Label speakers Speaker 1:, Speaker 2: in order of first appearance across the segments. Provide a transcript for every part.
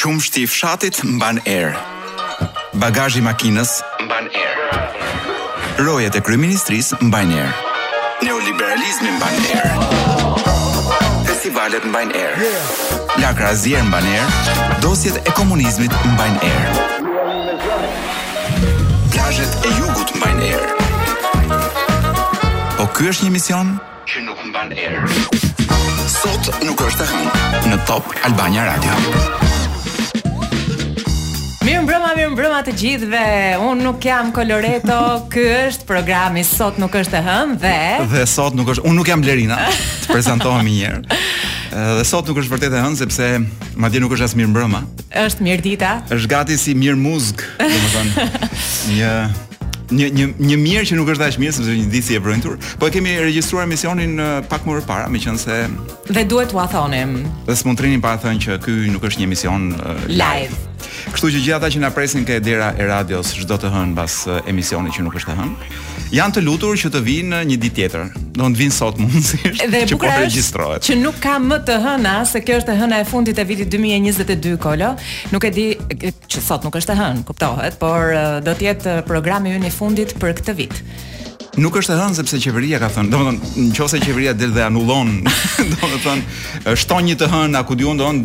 Speaker 1: Qumshti i fshatit mban erë. Bagazhi i makinës mban erë. Rojet e kryeministrisë mbajnë erë. Neoliberalizmi mban erë. Festivalet mbajnë erë. Lakra azier mban erë. Dosjet e komunizmit mbajnë erë. Plazhet e jugut mbajnë erë. Po ky është një mision që nuk mban erë. Sot nuk është e hënë në Top Albania Radio.
Speaker 2: Mirë mbrëma, mirë mbrëma të gjithve. Unë nuk jam Coloreto. Ky është programi sot nuk është e hëm dhe
Speaker 1: Dhe sot nuk është, unë nuk jam Blerina, të prezantohem një herë. Eh, Dhe sot nuk është vërtet e hënë sepse madje nuk është as mirë mbrëma.
Speaker 2: është mirë dita.
Speaker 1: Është gati si mirë muzg, domethënë. Një një një një mirë që nuk është as mirë sepse është një ditë si e vrëntur, po e kemi regjistruar emisionin eh, pak më parë, meqense
Speaker 2: Dhe duhet t'ua thonim
Speaker 1: dhe s'montrinin pa thënë që ky nuk është një emision eh,
Speaker 2: live.
Speaker 1: Kështu që gjithë ata që na presin ke dera e radios çdo të hënë pas eh, emisionit që nuk është e hënë, janë të lutur që të vinë eh, një ditë tjetër. Do të vinë sot mundësisht
Speaker 2: Dhe e
Speaker 1: që po
Speaker 2: bukur
Speaker 1: regjistrohet.
Speaker 2: që nuk ka më të hëna se kjo është e hëna e fundit e vitit 2022 kolo. Nuk e di që sot nuk është e hënë, kuptohet, por eh, do të jetë eh, programi ynë i fundit për këtë vit.
Speaker 1: Nuk është e hënë sepse qeveria ka thënë, domethënë nëse qeveria del dhe anullon, domethënë shton një të hënë akudion don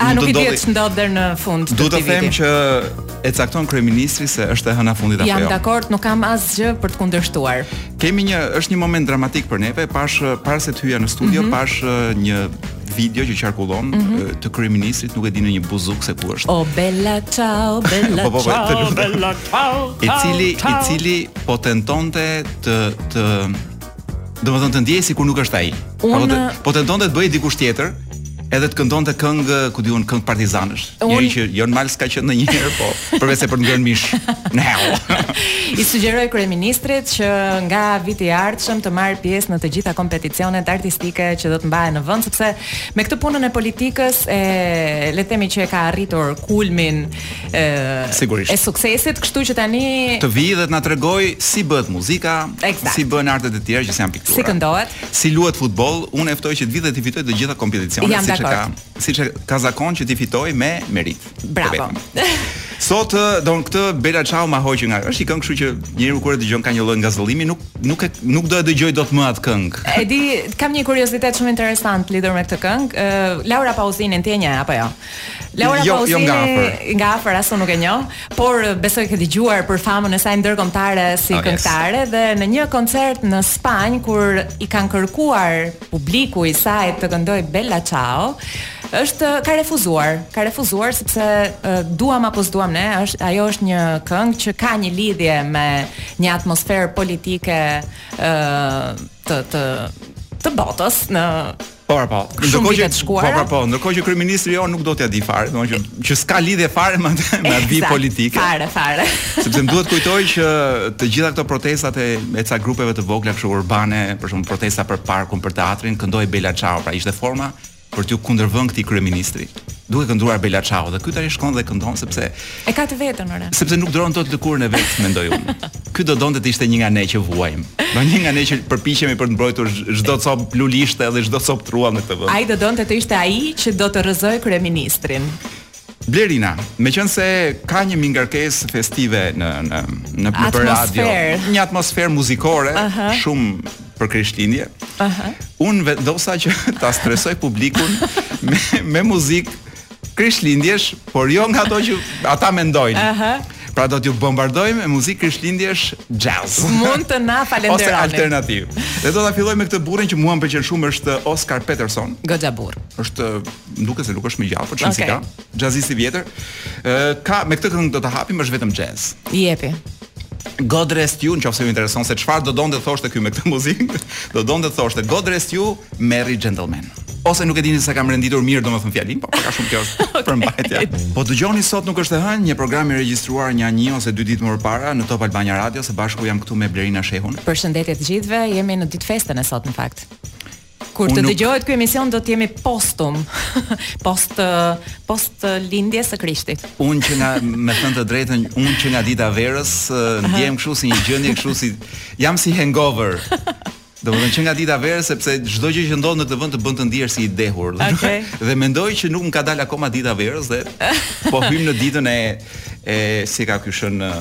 Speaker 2: A Ah, nuk i di ç'ndodh deri në fund të
Speaker 1: Do të
Speaker 2: këtij
Speaker 1: them
Speaker 2: viti.
Speaker 1: që e cakton kryeministri se është e hëna fundit apo
Speaker 2: jam
Speaker 1: jo.
Speaker 2: dakord, nuk kam asgjë për të kundërshtuar.
Speaker 1: Kemi një është një moment dramatik për neve, pash para se të hyja në studio,
Speaker 2: Mhm.
Speaker 1: pash eh, një video që qarkullon eh, të kryeministrit, nuk e di në një buzuk se ku është.
Speaker 2: O bella ciao, bella
Speaker 1: Po, po, po, të
Speaker 2: ciao,
Speaker 1: lutem.
Speaker 2: bella ciao.
Speaker 1: i cili
Speaker 2: ciao, ciao.
Speaker 1: i cili po tentonte të të domethënë të ndjej sikur nuk është ai. Apo të,
Speaker 2: Unë-
Speaker 1: po tentonte të bëjë dikush tjetër, edhe të këndonte këngë, ku diun, këngë partizanësh.
Speaker 2: Unë-
Speaker 1: Njëri që jo në mal s'ka qenë ndonjëherë, po përveç se për të ngrënë mish. Në hell.
Speaker 2: I sugjeroj kryeministrit që nga viti i ardhshëm të marr pjesë në të gjitha kompeticionet artistike që do të mbahen në vend sepse me këtë punën e politikës e le të themi që e ka arritur kulmin e
Speaker 1: Sigurisht.
Speaker 2: e suksesit, kështu që tani
Speaker 1: Të vi dhe të na tregoj si bëhet muzika,
Speaker 2: Eksakt.
Speaker 1: si bëhen artet e tjera që janë piktura.
Speaker 2: si këndohet.
Speaker 1: Si luhet futboll, unë e ftoj që të vi dhe ti fitoj të gjitha kompeticionet
Speaker 2: Jam
Speaker 1: siç e ka,
Speaker 2: dakord.
Speaker 1: siç e ka zakon që ti fitoj me merit.
Speaker 2: Bravo.
Speaker 1: Të vetëm. Sot ë, don këtë Bela Ciao ma hoqë nga. Është një këngë, kështu që njeriu kur e dëgjon ka një lloj ngazëllimi, nuk nuk e nuk do e dëgjoj dot më atë këngë.
Speaker 2: E di, kam një kuriozitet shumë interesant lidhur me këtë këngë. Ë, Laura Pauzinin ti e njeh apo jo? Laura
Speaker 1: Jo- jo
Speaker 2: Pausini
Speaker 1: nga afër.
Speaker 2: nga afër asu nuk e njoh, por besoj ke dëgjuar për famën e saj ndërkombëtare si
Speaker 1: Oh, yes.
Speaker 2: këngëtare dhe në një koncert në Spanjë kur i kanë kërkuar publiku i saj të këndoj Bella Ciao, është ka refuzuar, ka refuzuar sepse ë, duam apo s'duam ne, është ajo është një këngë që ka një lidhje me një atmosferë politike ë të të të botës në
Speaker 1: Po, po. që
Speaker 2: Shumë vite të shkuara.
Speaker 1: Po, po, po. Ndërkohë që kryeministri jo nuk do t'ja di fare, domethënë që që s'ka lidhje fare me atë me atë vi
Speaker 2: Eksakt,
Speaker 1: politike.
Speaker 2: Fare, fare.
Speaker 1: Sepse më duhet kujtoj që të gjitha këto protestat e e ca grupeve të vogla kështu urbane, për shembull protesta për parkun, për teatrin, këndoi Bela Ciao, pra ishte forma për t'u kundërvënë këtij kryeministri. Duke kënduar Bela Ciao dhe ky tani shkon dhe këndon sepse
Speaker 2: E ka të vetën ora.
Speaker 1: sepse nuk doron dot lëkurën e vet, mendoj unë. Ky do donte të ishte një nga ne që vuajmë. Do një nga ne që përpiqemi për të mbrojtur zh- çdo cop lulishte dhe çdo cop trua në këtë vend.
Speaker 2: Ai do donte të ishte ai që do të rrëzoj kryeministrin.
Speaker 1: Blerina, me qënë se ka një mingarkes festive në, në, në, në për radio,
Speaker 2: Atmosferë.
Speaker 1: një atmosferë muzikore, shumë për krishtlindje, unë vendosa që ta stresoj publikun me, me muzikë krishtlindjesh, por jo nga ato që ata mendojnë. Pra do t'ju bombardoj me muzikë krishtlindjesh jazz.
Speaker 2: Mund të na
Speaker 1: Ose
Speaker 2: falenderoni.
Speaker 1: alternativ. Dhe do ta filloj me këtë burrin që mua më pëlqen shumë është Oscar Peterson
Speaker 2: Goxha burr.
Speaker 1: është më duket se nuk është më gjallë, por çfarë si
Speaker 2: Okej.
Speaker 1: ka? Jazzist i vjetër. Ë ka me këtë këngë do ta hapim është vetëm jazz.
Speaker 2: I jepi.
Speaker 1: God rest you, nëse ju intereson se çfarë do donte thoshte ky me këtë muzikë, do donte thoshte God rest you, Merry Gentleman. Ose nuk e dini se kam renditur mirë domethënë fjalin, po ka shumë kjo është për mbajtja. Po dëgjoni sot nuk është e hënë, një program i regjistruar një një ose dy ditë më parë në Top Albania Radio, së bashku jam këtu me Blerina Shehun.
Speaker 2: Përshëndetje të gjithëve, jemi në ditë festën e sot në fakt. Kur
Speaker 1: Unë
Speaker 2: të
Speaker 1: nuk-
Speaker 2: dëgjohet ky emision do të jemi postum, post uh, post lindjes së Krishtit.
Speaker 1: Unë që nga me thënë të drejtën, unë që nga dita verës ë, ndjem kështu si një gjendje kështu si jam si hangover. Domethënë që nga dita verë sepse çdo gjë që ndodh në këtë vend të bën të ndihesh si i dehur. Dhe-
Speaker 2: Okej.
Speaker 1: Dhe mendoj që nuk më ka dalë akoma dita verës dhe po hym në ditën e e si ka ky shën e,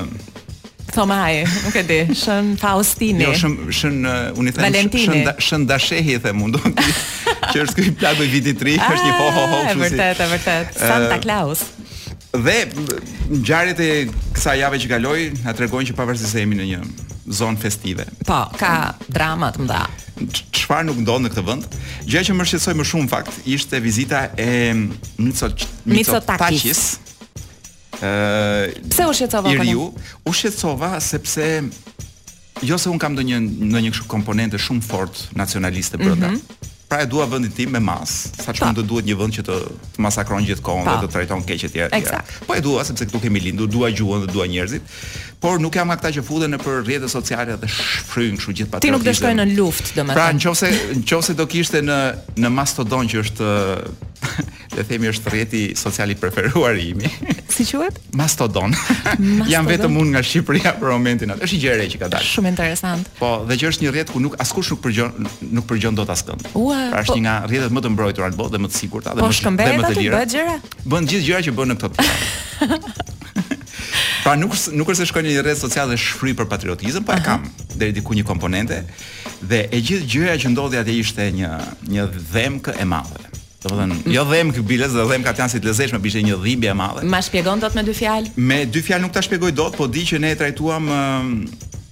Speaker 2: Thomaj, nuk e di, shën Faustini.
Speaker 1: jo shën shën e, unë i them
Speaker 2: Valentini.
Speaker 1: shën da- shën dashehi i them unë do që është ky plagu i vitit të ri, është një ho ho ho
Speaker 2: Ah, E
Speaker 1: kështu si. Eh,
Speaker 2: vërtet, e vërtet. Santa
Speaker 1: Ë,
Speaker 2: Claus.
Speaker 1: Dhe ngjarjet e kësaj jave që kaloi na tregojnë që pavarësisht se jemi në një zonë festive,
Speaker 2: Po, ka drama të mëdha.
Speaker 1: ç- çfarë nuk ndodh në këtë vend. Gjëja që më shqetësoi më shumë në fakt ishte vizita e Mitsotakis.
Speaker 2: Mitsotakis.
Speaker 1: Ë,
Speaker 2: Pse u shqetësova
Speaker 1: i
Speaker 2: Konan?
Speaker 1: riu, u shqetësova sepse jo se un kam ndonjë ndonjë kështu komponente shumë fort nacionaliste brenda.
Speaker 2: Mhm.
Speaker 1: Pra e dua vendin tim me mas, sa çfarë do duhet një vend që të, të masakron gjithkohon dhe
Speaker 2: Pa.
Speaker 1: të trajton keq etj etj.
Speaker 2: Eksakt.
Speaker 1: Po e dua sepse këtu kemi lindur, dua gjuhën dhe dua njerëzit, por nuk jam nga këta që futen nëpër rrjetet sociale dhe shfryn kështu gjithë
Speaker 2: Ti nuk do
Speaker 1: patriotizëm.
Speaker 2: shkoj në luftë,
Speaker 1: Pra
Speaker 2: domethënë.
Speaker 1: nëse nëse do kishte në në Mastodon që është le të themi është rrjeti social i preferuar i imi.
Speaker 2: si quhet?
Speaker 1: Mastodon. Jam vetëm unë nga Shqipëria për momentin atë. Është një gjë e re që ka dalë.
Speaker 2: Shumë interesant.
Speaker 1: Po, Pra, dhe që është një rrjet ku nuk askush nuk përgjon nuk përgjon dot askënd.
Speaker 2: Ua,
Speaker 1: pra është
Speaker 2: po-
Speaker 1: një nga rrjetet më të mbrojtura në botë dhe më të sigurta dhe
Speaker 2: Po
Speaker 1: më dhe
Speaker 2: shkëmbehet
Speaker 1: më të
Speaker 2: aty,
Speaker 1: lira.
Speaker 2: bëhet gjëra?
Speaker 1: Bën gjithë gjëra që bën në këtë. pra nuk s- nuk është se shkon në një rrjet social dhe shfryj për patriotizëm, po e kam deri diku një komponente dhe e gjithë gjëja që ndodhi atje ishte një një dhemkë e madhe. Domethënë, jo dhemkë biles, dhe dhemkat janë si të lezeshme, ishte një dhimbje e madhe.
Speaker 2: Ma shpjegon dot me dy fjalë?
Speaker 1: Me dy fjalë nuk ta shpjegoj dot, po di që ne e trajtuam ë,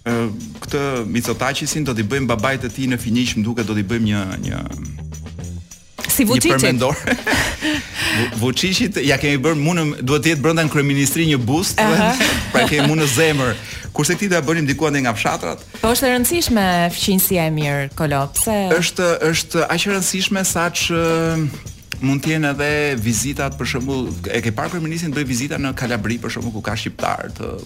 Speaker 1: ë, këtë Mitsotaqisin do t'i bëjmë babait të tij në finish, më duket do t'i bëjmë një një
Speaker 2: Si
Speaker 1: një
Speaker 2: Vučićit.
Speaker 1: përmendor. Vu- Vučićit ja kemi bërë mundëm duhet të jetë brenda në kryeministri një boost,
Speaker 2: Aha.
Speaker 1: pra kemi mund në zemër. Kurse këtë do ta bënim diku ande nga fshatrat.
Speaker 2: Po është e rëndësishme fqinjësia e mirë, Kolo, pse
Speaker 1: Është është aq e rëndësishme saç ë, mund të jenë edhe vizitat për shembull e ke parë kryeministin bëj vizita në Kalabri për shembull ku ka shqiptar të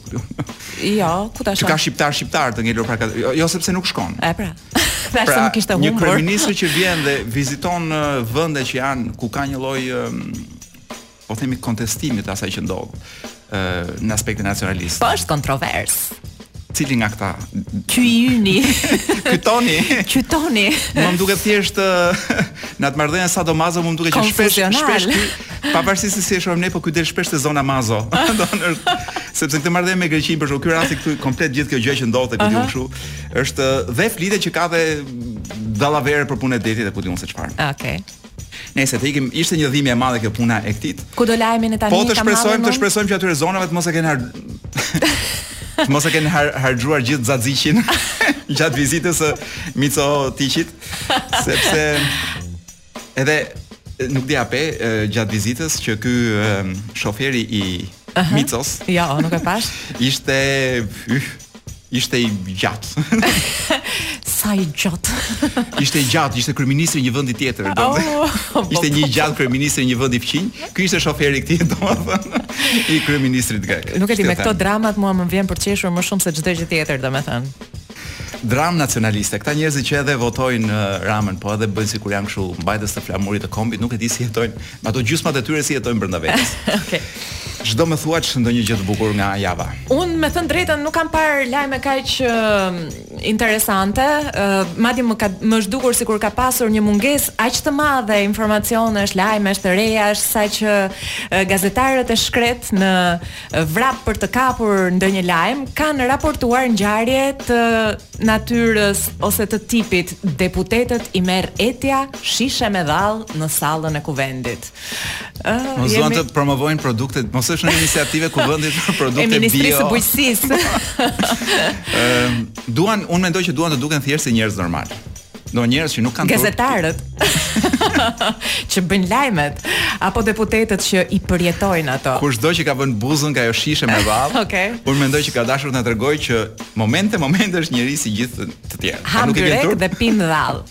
Speaker 2: jo, ku ta
Speaker 1: që ka
Speaker 2: shoh?
Speaker 1: shqiptar shqiptar të ngelur pra ka- jo, jo sepse nuk shkon.
Speaker 2: E pra. Tash se
Speaker 1: Pra,
Speaker 2: nuk kishte
Speaker 1: një
Speaker 2: humbur.
Speaker 1: kryeministër që vjen dhe viziton ë, vende që janë ku ka një lloj ëm, po themi kontestimi të asaj që ndodh ë, në aspektin nacionalist.
Speaker 2: Po është kontrovers.
Speaker 1: Cili nga këta?
Speaker 2: Ky i yni,
Speaker 1: Ky Toni
Speaker 2: ky toni.
Speaker 1: Më më duket thjesht ë, në atë marrëdhënie sadomazo më duket që shpesh
Speaker 2: Konfusional.
Speaker 1: shpesh ky pavarësisht se si e shohim ne, po ky del shpesh te zona mazo. Do në është sepse këtë marrëdhënie me Greqinë për shkak ky rasti këtu komplet gjithë kjo gjë që ndodhte ku diun kështu është ë, dhe flitet që ka dhe dallavere për punën e detit e ku diun se çfarë.
Speaker 2: Okej.
Speaker 1: Nëse të ikim, ishte një dhimbje e madhe kjo puna e këtit.
Speaker 2: Ku do lajmin e tani?
Speaker 1: Po të
Speaker 2: ka marrë
Speaker 1: shpresojmë, të
Speaker 2: mund?
Speaker 1: shpresojmë që atyre zonave të mos e kenë har... të mos e kenë har harxuar gjithë xaxhiqin gjatë vizitës së Mico Tiqit, sepse edhe e, nuk di ape e, gjatë vizitës që ky e, shoferi i Micos
Speaker 2: Jo, nuk e pash.
Speaker 1: ishte yh, ishte i gjatë.
Speaker 2: Sa i gjot.
Speaker 1: Ishte i gjatë, ishte kryeministri i një vendi tjetër, domethënë.
Speaker 2: Oh,
Speaker 1: ishte një i gjatë kryeministri i një vendi fqinj. Ky ishte shoferi i këtij, domethënë, i kryeministrit grek.
Speaker 2: Nuk e di
Speaker 1: Kështu
Speaker 2: me këto
Speaker 1: them.
Speaker 2: dramat mua më vjen për të qeshur më shumë se çdo gjë tjetër, domethënë.
Speaker 1: dram nacionaliste. Këta njerëzit që edhe votojnë ë, Ramën, po edhe bëjnë sikur janë kështu mbajtës të flamurit të kombit, nuk e di si jetojnë. me Ato gjysmat e tyre si jetojnë brenda vetes.
Speaker 2: Okej.
Speaker 1: Çdo më thuaç ndonjë gjë të bukur nga java.
Speaker 2: Unë me thënë drejtën nuk kam parë lajme kaq ë, interesante, uh, madje më ka më është dukur sikur ka pasur një mungesë aq të madhe informacionesh, lajmesh të rejash, saqë uh, gazetarët e shkret në ë, vrap për të kapur ndonjë lajm kanë raportuar ngjarje të natyrës ose të tipit deputetët i merr etja shishe me dhall në sallën e kuvendit. Ë,
Speaker 1: Mos duan
Speaker 2: jemi-
Speaker 1: të promovojnë produktet, mos është në iniciative ku vendi për
Speaker 2: e
Speaker 1: produkte
Speaker 2: Ministrisë së
Speaker 1: bio.
Speaker 2: Bujqësisë.
Speaker 1: Ë, duan, unë mendoj që duan të duken thjesht si njerëz normal. Do njerëz që nuk kanë tur-
Speaker 2: gazetarët që bëjnë lajmet apo deputetët që i përjetojnë ato.
Speaker 1: Kur çdo që ka vënë buzën ka ajo shishe me vallë.
Speaker 2: Okej.
Speaker 1: Unë mendoj që ka dashur të na tregoj që momente momente është njëri si gjithë të tjerë. Pra,
Speaker 2: Ham
Speaker 1: nuk i vjen
Speaker 2: byrek
Speaker 1: turp.
Speaker 2: dhe pim dhall.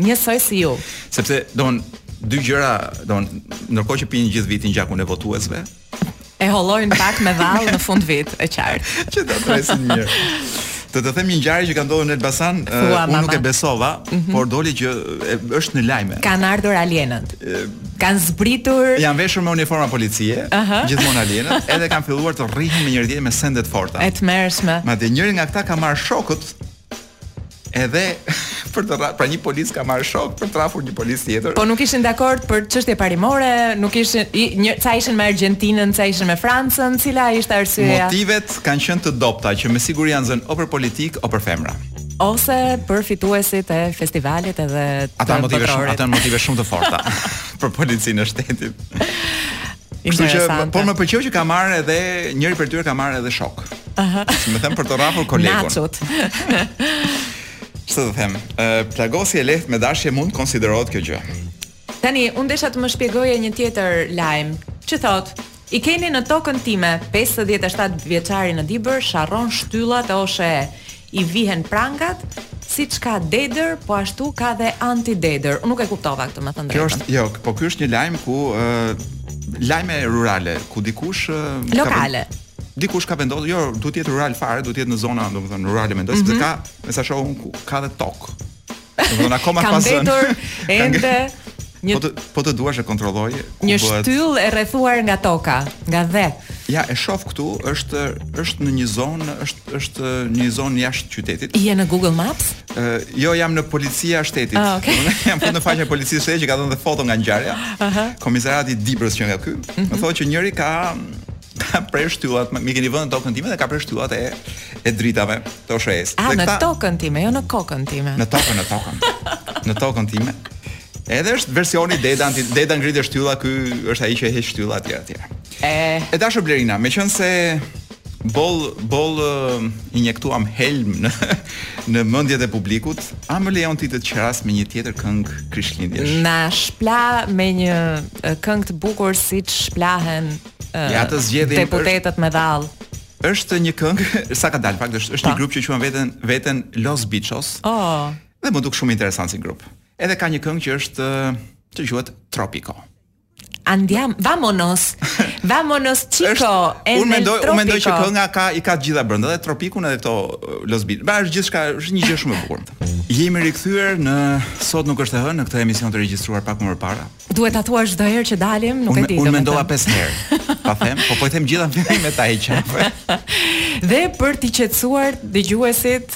Speaker 2: Njësoj si ju.
Speaker 1: sepse don dy gjëra, don ndërkohë që pinin gjithë vitin gjakun e votuesve,
Speaker 2: E hollojnë pak me dhall në fund vit, e qartë.
Speaker 1: që ta tresin mirë. Të të them një ngjarje që ka ndodhur në Elbasan, uh,
Speaker 2: Thua,
Speaker 1: unë nuk
Speaker 2: mama. Mhm.
Speaker 1: e besova, por doli që e, është në lajme.
Speaker 2: Kan ardhur alienët. Kan zbritur
Speaker 1: Janë veshur me uniforma policie, gjithmonë alienët, edhe kanë filluar të rrihen me njëri tjetrin me sende të forta.
Speaker 2: e të mershme.
Speaker 1: Madje njëri nga këta ka marrë shokët edhe për të ra- pra një polic ka marrë shok për të rafur një polic tjetër.
Speaker 2: Po nuk ishin dakord për çështje parimore, nuk ishin i, një ca ishin me Argjentinën, ca ishin me Francën, cila ishte arsyeja
Speaker 1: Motivet kanë qenë të dobta që me siguri janë zënë o për politik o për femra.
Speaker 2: ose për fituesit e festivalit edhe të
Speaker 1: Ata janë motive shumë,
Speaker 2: botrorit.
Speaker 1: ata janë motive shumë të forta për policinë e shtetit. Kështu që po
Speaker 2: Interesante.
Speaker 1: por më pëlqeu që ka marrë edhe njëri për tyre ka marrë edhe shok. Aha. Si më them për të rrafur kolegun.
Speaker 2: Nachot.
Speaker 1: Ç'të të them? Ë plagosje e lehtë me dashje mund konsiderohet kjo gjë.
Speaker 2: Tani unë desha të më shpjegoje një tjetër lajm. Çi thot? I keni në tokën time 57 vjeçari në Dibër sharron shtyllat e OSHE. I vihen prangat, siç ka dedër, po ashtu ka dhe anti-dedër. Unë nuk e kuptova këtë, më thënë
Speaker 1: Kjo
Speaker 2: drejtën.
Speaker 1: është jo, po ky është një lajm ku ë lajme rurale, ku dikush ë, ka
Speaker 2: Lokale.
Speaker 1: vend- Dikush ka vendosur, jo, duhet të jetë rural fare, duhet të jetë në zona, domethënë rurale mendoj,
Speaker 2: Mhm.
Speaker 1: sepse ka, me sa shoh unë, ku- ka dhe tokë. Domethënë akoma
Speaker 2: Ka
Speaker 1: pas zënë.
Speaker 2: mbetur
Speaker 1: Ka nge-
Speaker 2: ende një
Speaker 1: Po të, po të duash e kontrolloj ku
Speaker 2: një
Speaker 1: bëhet-
Speaker 2: shtyll e rrethuar nga toka, nga dhe.
Speaker 1: Ja, e shoh këtu, është është në një zonë, është është në një zonë jashtë qytetit.
Speaker 2: I je në Google Maps?
Speaker 1: Ë, jo, jam në policia e shtetit.
Speaker 2: Ah, okay.
Speaker 1: Domethënë, jam në faqen e policisë së shtetit që ka dhënë dhe foto nga ngjarja. Komisariati i Dibrës që nga ky,
Speaker 2: Mhm.
Speaker 1: më thotë që njëri ka ka prer shtyllat, më keni vënë në tokën time dhe ka prer shtyllat e e dritave të OSHE-s.
Speaker 2: A,
Speaker 1: Dhe
Speaker 2: Ah, në
Speaker 1: këta-
Speaker 2: tokën time, jo në kokën time.
Speaker 1: Në tokën, në tokën. Në tokën time. Edhe është versioni Deda anti Deda ngritë shtylla, ky është ai që e heq shtylla atje atje.
Speaker 2: E,
Speaker 1: E dashur Blerina, me qënë se bol bol ë, injektuam helm në në mendjet e publikut, a më lejon ti të të qeras me një tjetër këngë krishtlindjesh?
Speaker 2: Na shpla me një e, këngë të bukur si të shplahen e,
Speaker 1: Ja, të zgjedhim
Speaker 2: deputetët me dhall.
Speaker 1: Është një këngë sa ka dalë fakt është, është
Speaker 2: Pa.
Speaker 1: një grup që quhen veten veten Los Bichos
Speaker 2: Oh,
Speaker 1: dhe më duk shumë interesant si grup. Edhe ka një këngë që është ë, që quhet Tropico.
Speaker 2: andiam, vamonos. Vamonos chico.
Speaker 1: Është-
Speaker 2: en el
Speaker 1: unë mendoj, unë mendoj që
Speaker 2: trópico.
Speaker 1: kënga ka i ka të gjitha brenda, edhe tropikun edhe këto uh, Los Bichos. Ba është gjithçka, është një gjë shumë e bukur. Jemi rikthyer në sot nuk është e hënë në këtë emision të regjistruar pak më parë.
Speaker 2: Duhet ta thuash çdo herë që dalim, nuk
Speaker 1: Unë
Speaker 2: e di.
Speaker 1: unë
Speaker 2: domethënë.
Speaker 1: mendova pesë herë. Pa them, po po i them gjitha me ta e qafë.
Speaker 2: Dhe për t'i qetësuar dëgjuesit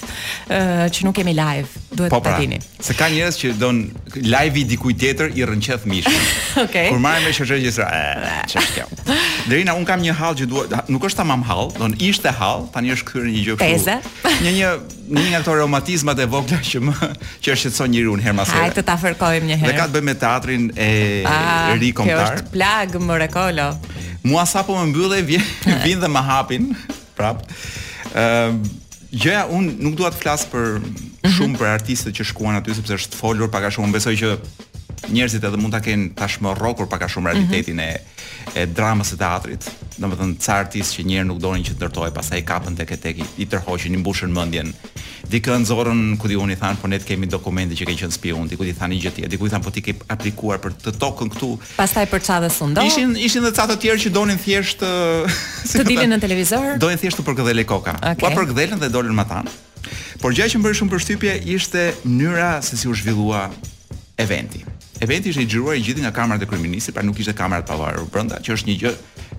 Speaker 2: ë, që nuk kemi live, duhet
Speaker 1: Po
Speaker 2: ta
Speaker 1: pra.
Speaker 2: dini.
Speaker 1: Se ka njerëz që don live-i dikujt tjetër i rrënqeth mishin.
Speaker 2: Okej.
Speaker 1: Kur marrëm me shërzë gjithsra, "Eh, ç'është kjo? Derina, un kam një hall që dua, nuk është tamam hall, don ishte hall, tani është kthyer në një gjë
Speaker 2: Peze.
Speaker 1: Një një një nga ato reumatizmat e vogla që më që e shqetëson njeriu herë pas
Speaker 2: Hajde
Speaker 1: here.
Speaker 2: të ta fërkojmë një herë.
Speaker 1: Dhe ka të bëjë me teatrin e
Speaker 2: Ah,
Speaker 1: ri
Speaker 2: Kjo
Speaker 1: kombëtar.
Speaker 2: është plag Morekolo.
Speaker 1: Mua sapo më mbyllë vjen vin dhe më hapin, prap. Ëm gjëja un nuk dua të flas për shumë për artistët që shkuan aty sepse është folur pak a shumë. Unë Besoj që njerëzit edhe mund ta kenë tashmë rrokur pak a shumë realitetin e e dramës së teatrit. Domethënë ca artistë që njëherë nuk donin që të ndërtohej, pastaj kapën tek e tek, i- i tërhoqin, i mbushën mendjen. Dikën zorën ku di unë i than, po ne të kemi dokumente që kanë qenë spion, diku i than një gjë tjetër, diku i than po ti ke aplikuar për të tokën këtu.
Speaker 2: Pastaj për çfarë sundo?
Speaker 1: Ishin ishin edhe ca të tjerë që donin thjesht ë, si
Speaker 2: Të
Speaker 1: ta-
Speaker 2: dilin në televizor?
Speaker 1: Donin thjesht të përkëdhelej koka.
Speaker 2: Okej.
Speaker 1: Ua përkëdhelën dhe dolën më tan. Por gjëja që më bëri shumë përshtypje ishte mënyra se si u zhvillua eventi. Eventi ishte i xhiruar i gjithë nga kamerat e kryeministit, pra nuk ishte kamera të pavarur brenda, që është një gjë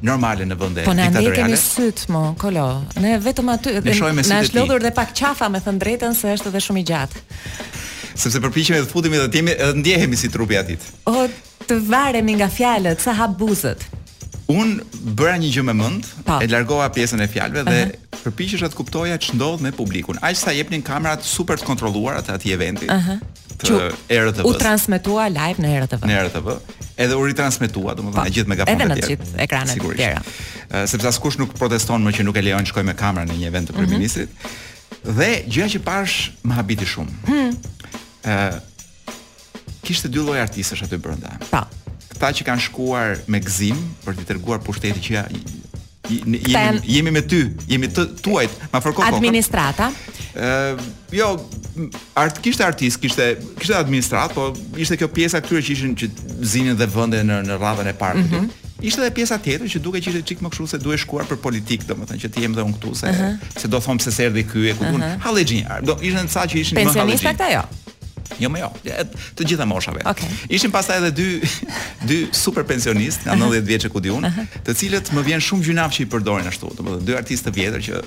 Speaker 1: normale në vende
Speaker 2: Po na ne
Speaker 1: diktatoriale.
Speaker 2: kemi syt mo, kolo. Ne vetëm aty
Speaker 1: Ne shohim me
Speaker 2: na
Speaker 1: sytë e
Speaker 2: është
Speaker 1: ti.
Speaker 2: lodhur dhe pak qafa me thënë drejtën se është edhe shumë i gjatë.
Speaker 1: Sepse përpiqemi të futemi dhe të jemi edhe ndjehemi si trupi i atit.
Speaker 2: O të varemi nga fjalët, sa hap buzët.
Speaker 1: Un bëra një gjë me mend,
Speaker 2: Po.
Speaker 1: e largova pjesën e fjalëve dhe përpiqesha të kuptoja ç'ndodh me publikun. Aq sa jepnin kamerat super të kontrolluara të atij eventi. Ëh. Të
Speaker 2: Që U
Speaker 1: RTV-s.
Speaker 2: transmetua live në herë të
Speaker 1: në
Speaker 2: vë.
Speaker 1: RTV, edhe u ritransmetua, domethënë
Speaker 2: Po,
Speaker 1: në gjithë megafonet
Speaker 2: edhe në
Speaker 1: e tjera.
Speaker 2: gjithë ekranet e
Speaker 1: Sigurisht.
Speaker 2: tjera.
Speaker 1: Ë, sepse askush nuk proteston më që nuk e lejojnë të shkojë me kamerën në një event të
Speaker 2: Mhm.
Speaker 1: kryeministit. Dhe gjëja që pash më habiti shumë. Ë
Speaker 2: Hmm.
Speaker 1: kishte dy lloj artistësh aty brenda.
Speaker 2: Po.
Speaker 1: Këta që kanë shkuar me gëzim për t'i treguar pushtetit që ja, i- i- jemi,
Speaker 2: janë-
Speaker 1: jemi me ty, jemi të tuajt, ma fërko kokën.
Speaker 2: Administrata.
Speaker 1: Ë, jo, art kishte artist, kishte kishte administrat, po ishte kjo pjesa këtyre që ishin që zinin dhe vende në në radhën e parë.
Speaker 2: Mhm.
Speaker 1: Ishte edhe pjesa tjetër që duke që ishte çik më kështu se duhet shkuar për politikë, domethënë që ti jem dhe unë këtu se
Speaker 2: Mhm.
Speaker 1: se do thom se se erdhi ky e ku pun. Hallexhinjar. Do ishin ca që ishin më
Speaker 2: Pensionista
Speaker 1: hallexhin.
Speaker 2: këta jo.
Speaker 1: Jo, më jo. e- Të gjitha moshave.
Speaker 2: Okej.
Speaker 1: Ishin pastaj edhe dy dy super pensionist nga 90 vjeç e ku di unë, të cilët më vjen shumë gjynaf që i përdorin ashtu. Domethënë dy artistë të vjetër që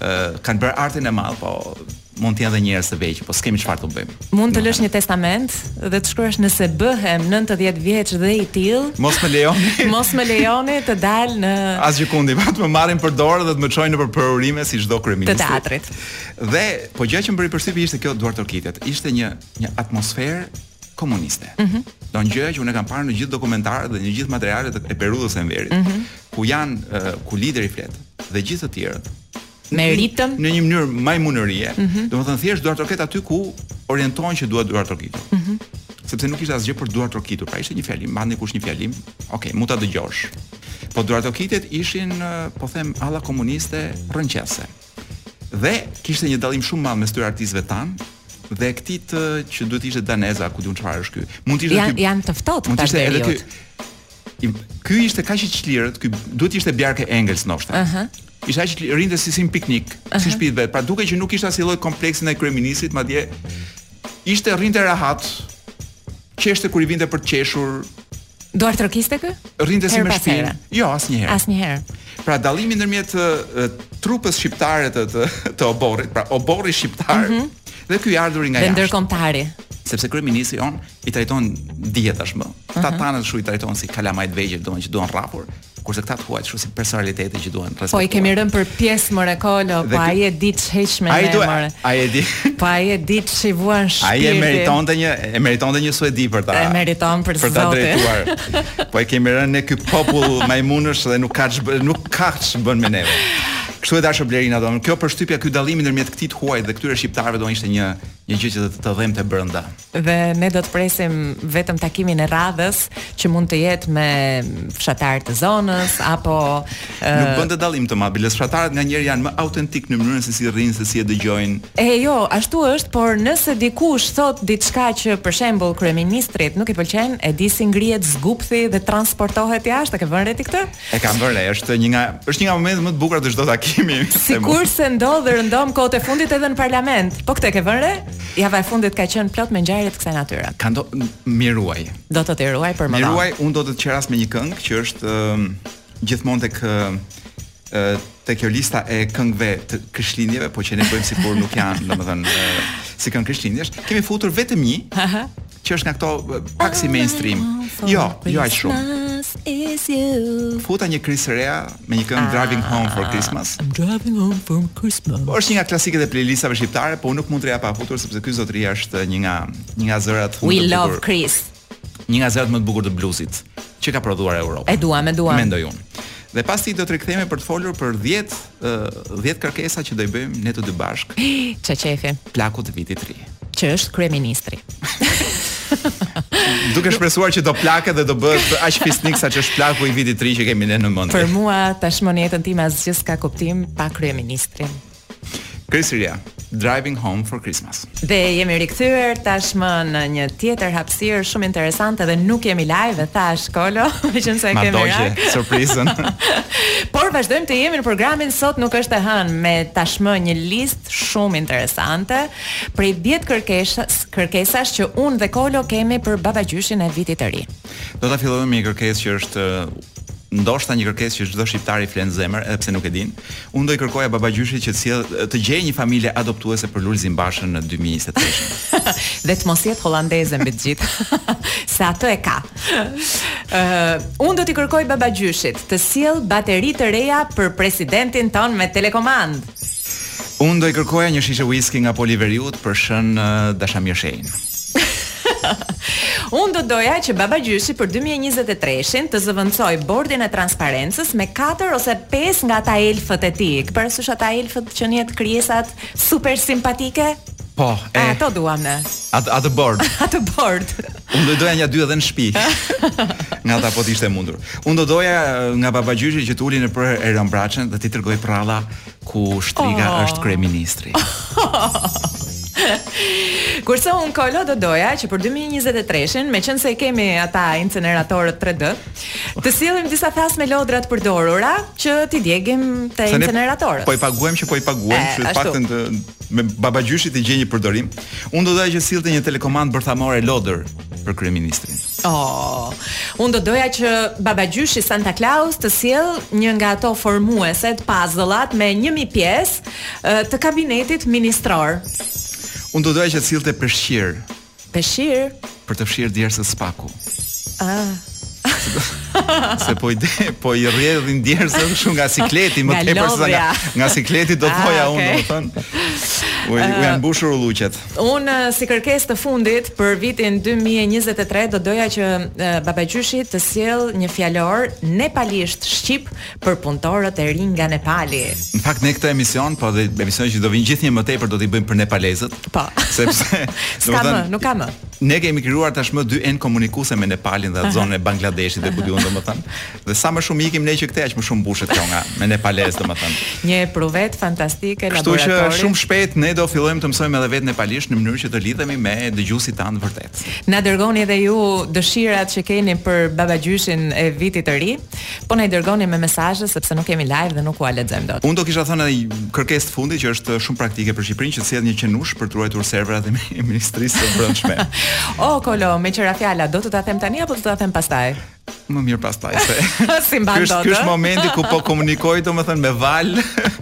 Speaker 1: ë, kanë bërë artin e madh, po mund të janë edhe njerëz të veq, po s'kemi çfarë të bëjmë.
Speaker 2: Mund të lësh një testament dhe të shkruash nëse bëhem 90 vjeç dhe i till,
Speaker 1: Mos më lejoni.
Speaker 2: mos më lejoni të dal në
Speaker 1: Asgjë kundi, pa të më marrin për dorë dhe të më çojnë nëpër përurime si çdo kryeminist.
Speaker 2: Të teatrit.
Speaker 1: Dhe po gjë që më bëri përshtypje ishte kjo Duart Orkitet. Ishte një një atmosferë komuniste. Do një gjë që unë e kam parë në gjithë dokumentarët dhe në gjithë materialet e periudhës së Enverit, ku janë eh, ku lideri flet dhe gjithë të tjerët
Speaker 2: me ritëm.
Speaker 1: në një mënyrë majmunërie. Mm -hmm. Domethënë thjesht Duart Orket aty ku orientohen që duhet Duart Orkitu. Mm -hmm. Sepse nuk ishte asgjë për Duart Orkitu, pra ishte një fjalim, mbani kush një fjalim. Okej, mund ta dëgjosh. Po Duart Orkitet ishin, ë, po them, alla komuniste rënqese. Dhe kishte një dallim shumë madh mes tyre artistëve tan dhe këtij të që duhet ishte daneza, ku diun çfarë është ky. Mund të ishte
Speaker 2: Janë
Speaker 1: ky-
Speaker 2: janë të ftohtë
Speaker 1: Mund të
Speaker 2: këta
Speaker 1: ishte edhe ky.
Speaker 2: periudhë.
Speaker 1: i- Ky ishte kaq i çlirët, ky duhet ishte Bjarke Engels noshta.
Speaker 2: Aha.
Speaker 1: Ishte aq i çlirë, rinte si si në piknik, si në shtëpi të vet. Pra duke që nuk ishte asnjë lloj kompleksi ndaj kryeministrit, madje ishte rrinte rehat. Qeshte kur i vinte për të qeshur,
Speaker 2: Duart rrokiste ky?
Speaker 1: rrinte si
Speaker 2: Her
Speaker 1: me
Speaker 2: pas
Speaker 1: shpinë.
Speaker 2: here.
Speaker 1: Jo, asnjëherë.
Speaker 2: Asnjëherë.
Speaker 1: Pra dallimi ndërmjet ë, ë, trupës shqiptare të të, të oborrit, pra oborri shqiptar dhe ky i ardhuri nga
Speaker 2: Mhm. Dhe
Speaker 1: jashtë
Speaker 2: ndërkombëtari.
Speaker 1: sepse kryeministri on i trajton dije tashmë. Këta
Speaker 2: Mhm.
Speaker 1: tanët shu i trajton si kalamaj të vegjël, domethënë që duan rrapur, kurse këta të huaj shu si personalitete që duan respektuar.
Speaker 2: Po i kemi rënë për pjesë more kolo,
Speaker 1: Dhe ky-
Speaker 2: po ai e di çheqme
Speaker 1: Ai
Speaker 2: ne
Speaker 1: do
Speaker 2: more.
Speaker 1: ai e di.
Speaker 2: Po ai e di çivuan
Speaker 1: Ai
Speaker 2: shpirtin.
Speaker 1: e meritonte një e meritonte një suedi për ta.
Speaker 2: E meriton për
Speaker 1: për ta
Speaker 2: zotin.
Speaker 1: drejtuar. po e kemi rënë ne ky popull majmunësh dhe nuk ka ç'bë- nuk ka ç'bën me neve. Kështu e dashur Blerina domethënë kjo përshtypja ky dallimi ndërmjet këtij të huaj dhe këtyre shqiptarëve do ishte një një gjë që të, të dhemte brenda.
Speaker 2: Dhe ne do të presim vetëm takimin e radhës që mund të jetë me fshatar të zonës apo
Speaker 1: Nuk bën të dallim të madh, bile fshatarët nga njerë janë më autentik në mënyrën se si rrinë, se si e dëgjojnë.
Speaker 2: e jo, ashtu është, por nëse dikush thot diçka që për shembull kryeministrit nuk i pëlqen, e di si ngrihet zgupthi dhe transportohet jashtë, e ke vënë re ti këtë?
Speaker 1: E kam vënë re, është një nga është një nga momentet më të bukura të çdo takimi.
Speaker 2: Sikur se ndodh dhe rëndom kohët e fundit edhe në parlament. Po këtë e ke vënë re? Java e fundit ka qenë plot me ngjarje të kësaj natyre.
Speaker 1: ka ndo miruaj.
Speaker 2: Do të të ruaj për më vonë.
Speaker 1: Miruaj unë do të të qeras me një këngë që është ëm, gjithmonë tek ëm, ë, tek kjo lista e këngëve të krishtlindjeve, po që ne bëjmë sikur nuk janë, domethënë ë, si këngë krishtlindjesh, kemi futur vetëm një që është nga këto ë, pak si mainstream. Jo, jo aq shumë.
Speaker 2: shumë.
Speaker 1: Futa një Chris Rea me një këngë Driving Home for Christmas.
Speaker 2: I'm driving home from Christmas.
Speaker 1: Po, është një nga klasikët e playlistave shqiptare, po unë nuk mund të ja pa futur sepse ky zotëria është një nga një nga zërat unë
Speaker 2: We
Speaker 1: të
Speaker 2: love
Speaker 1: bukur-
Speaker 2: Chris.
Speaker 1: një nga zërat më të bukur të bluzit që ka prodhuar Europa.
Speaker 2: E duam, e duam.
Speaker 1: Mendoj unë. Dhe pasi do të rikthehemi për të folur për 10 ë, 10 kërkesa që do i bëjmë ne të dy bashk
Speaker 2: Çe qefi,
Speaker 1: plakut të vitit të ri.
Speaker 2: që është kryeministri.
Speaker 1: Duke shpresuar që do plaket dhe do bëhet aq fisnik sa që është plaku i vitit të ri që kemi ne në mend.
Speaker 2: Për mua tashmë në jetën time asgjë s'ka kuptim pa kryeministrin.
Speaker 1: Chris Ria, Driving Home for Christmas.
Speaker 2: Dhe jemi rikthyer tashmë në një tjetër hapësirë shumë interesante dhe nuk jemi live, thash Kolo, meqense e
Speaker 1: Ma
Speaker 2: kemi
Speaker 1: doqe
Speaker 2: rak.
Speaker 1: surprizën.
Speaker 2: Por vazhdojmë të jemi në programin sot nuk është e hënë me tashmë një listë shumë interesante prej 10 kërkesas kërkesash që unë dhe Kolo kemi për babagjyshin e vitit të ri.
Speaker 1: Do ta fillojmë me një kërkesë që është ë, ndoshta një kërkesë që çdo shqiptar i flen zemër, edhe pse nuk e din. Unë do i kërkoja babagjyshit që të sjell të gjejë një familje adoptuese për Lulzim Bashën në 2023.
Speaker 2: dhe të mos jetë hollandeze mbi të gjithë. Se atë e ka. Ë, unë do t'i kërkoj babagjyshit të sjell bateri të reja për presidentin ton me telekomand.
Speaker 1: Unë do i kërkoja një shishe whisky nga Poliveriut për shën ë, Dashamir Shein.
Speaker 2: Unë do doja që babagjyshi për 2023-shin të zëvendësoj bordin e transparencës me 4 ose 5 nga ata elfët e tij. Për sysh ata elfët që njihet krijesat super simpatike.
Speaker 1: Po, e,
Speaker 2: A, ato duam ne.
Speaker 1: atë atë bord.
Speaker 2: Atë bord.
Speaker 1: Unë do doja një dy edhe në shtëpi. Nga ata po të ishte mundur. Unë do doja ë, nga babagjyshi që të uli në për Erion Braçën dhe ti tregoj prralla ku shtriga
Speaker 2: Oh.
Speaker 1: është kryeministri.
Speaker 2: Kurse unë kolo do doja që për 2023-shin, me qënë se i kemi ata incineratorët 3D, të sillim disa thas me lodra të përdorura që t'i djegim te
Speaker 1: Se ne
Speaker 2: incineratorët.
Speaker 1: Po i paguajmë që po i paguajmë,
Speaker 2: E,
Speaker 1: që të
Speaker 2: ashtu.
Speaker 1: paktën të me babagjyshit i gjej një përdorim. Unë do doja që sillte një telekomand bërthamore lodër për kryeministrin.
Speaker 2: Oh, unë do doja që babagjyshi Santa Claus të sjell një nga ato formuese të puzzle-at me 1000 pjesë eh, të kabinetit ministror.
Speaker 1: Unë do doja që të sillte përshqir
Speaker 2: Peshir.
Speaker 1: për të fshirë djersës spaku.
Speaker 2: Ah,
Speaker 1: Se po i de, po i rrjedhin djersën shumë nga sikleti, më
Speaker 2: Nga
Speaker 1: tepër se sa nga
Speaker 2: lodhja.
Speaker 1: nga sikleti do
Speaker 2: Ah,
Speaker 1: thoja unë,
Speaker 2: okay.
Speaker 1: domethënë. U, u janë mbushur ulluqet.
Speaker 2: unë eh, si kërkesë të fundit për vitin 2023 do doja që eh, babagjyshi të sjell një fjalor nepalisht shqip për punëtorët e rinj nga Nepali.
Speaker 1: Në fakt ne këtë emision, po dhe emisionin që do vinë gjithnjë më tepër do t'i bëjmë për nepalezët.
Speaker 2: Po.
Speaker 1: Sepse
Speaker 2: S'ka më, nuk ka më.
Speaker 1: Ne kemi krijuar tashmë dy en komunikuese me Nepalin dhe atë zonën e Bangladeshit dhe ku diun domethënë. Dhe sa më shumë ikim ne që këtej aq më shumë mbushet kjo nga me nepalez domethënë.
Speaker 2: Një pruvet fantastike
Speaker 1: Kështu që
Speaker 2: laboratorit.
Speaker 1: shumë shpejt ne do fillojmë të mësojmë edhe vetë nepalisht në mënyrë që të lidhemi me dëgjuesit tanë vërtet.
Speaker 2: Na dërgoni edhe ju dëshirat që keni për babagjyshin e vitit të ri, po na i dërgoni me mesazhe sepse nuk kemi live dhe nuk ua lexojmë dot.
Speaker 1: Unë do kisha thënë edhe një kërkesë të fundit që është shumë praktike për Shqipërinë që të sjellë një qenush për të ruajtur serverat e mi- Ministrisë së Brendshme.
Speaker 2: O Kolo, me qëra fjala, do të ta them tani apo do të ta them pastaj?
Speaker 1: Më mirë pastaj se.
Speaker 2: Si mban
Speaker 1: Ky është-
Speaker 2: dot,
Speaker 1: Ky është
Speaker 2: ë?
Speaker 1: momenti ku po komunikoj domethënë me val,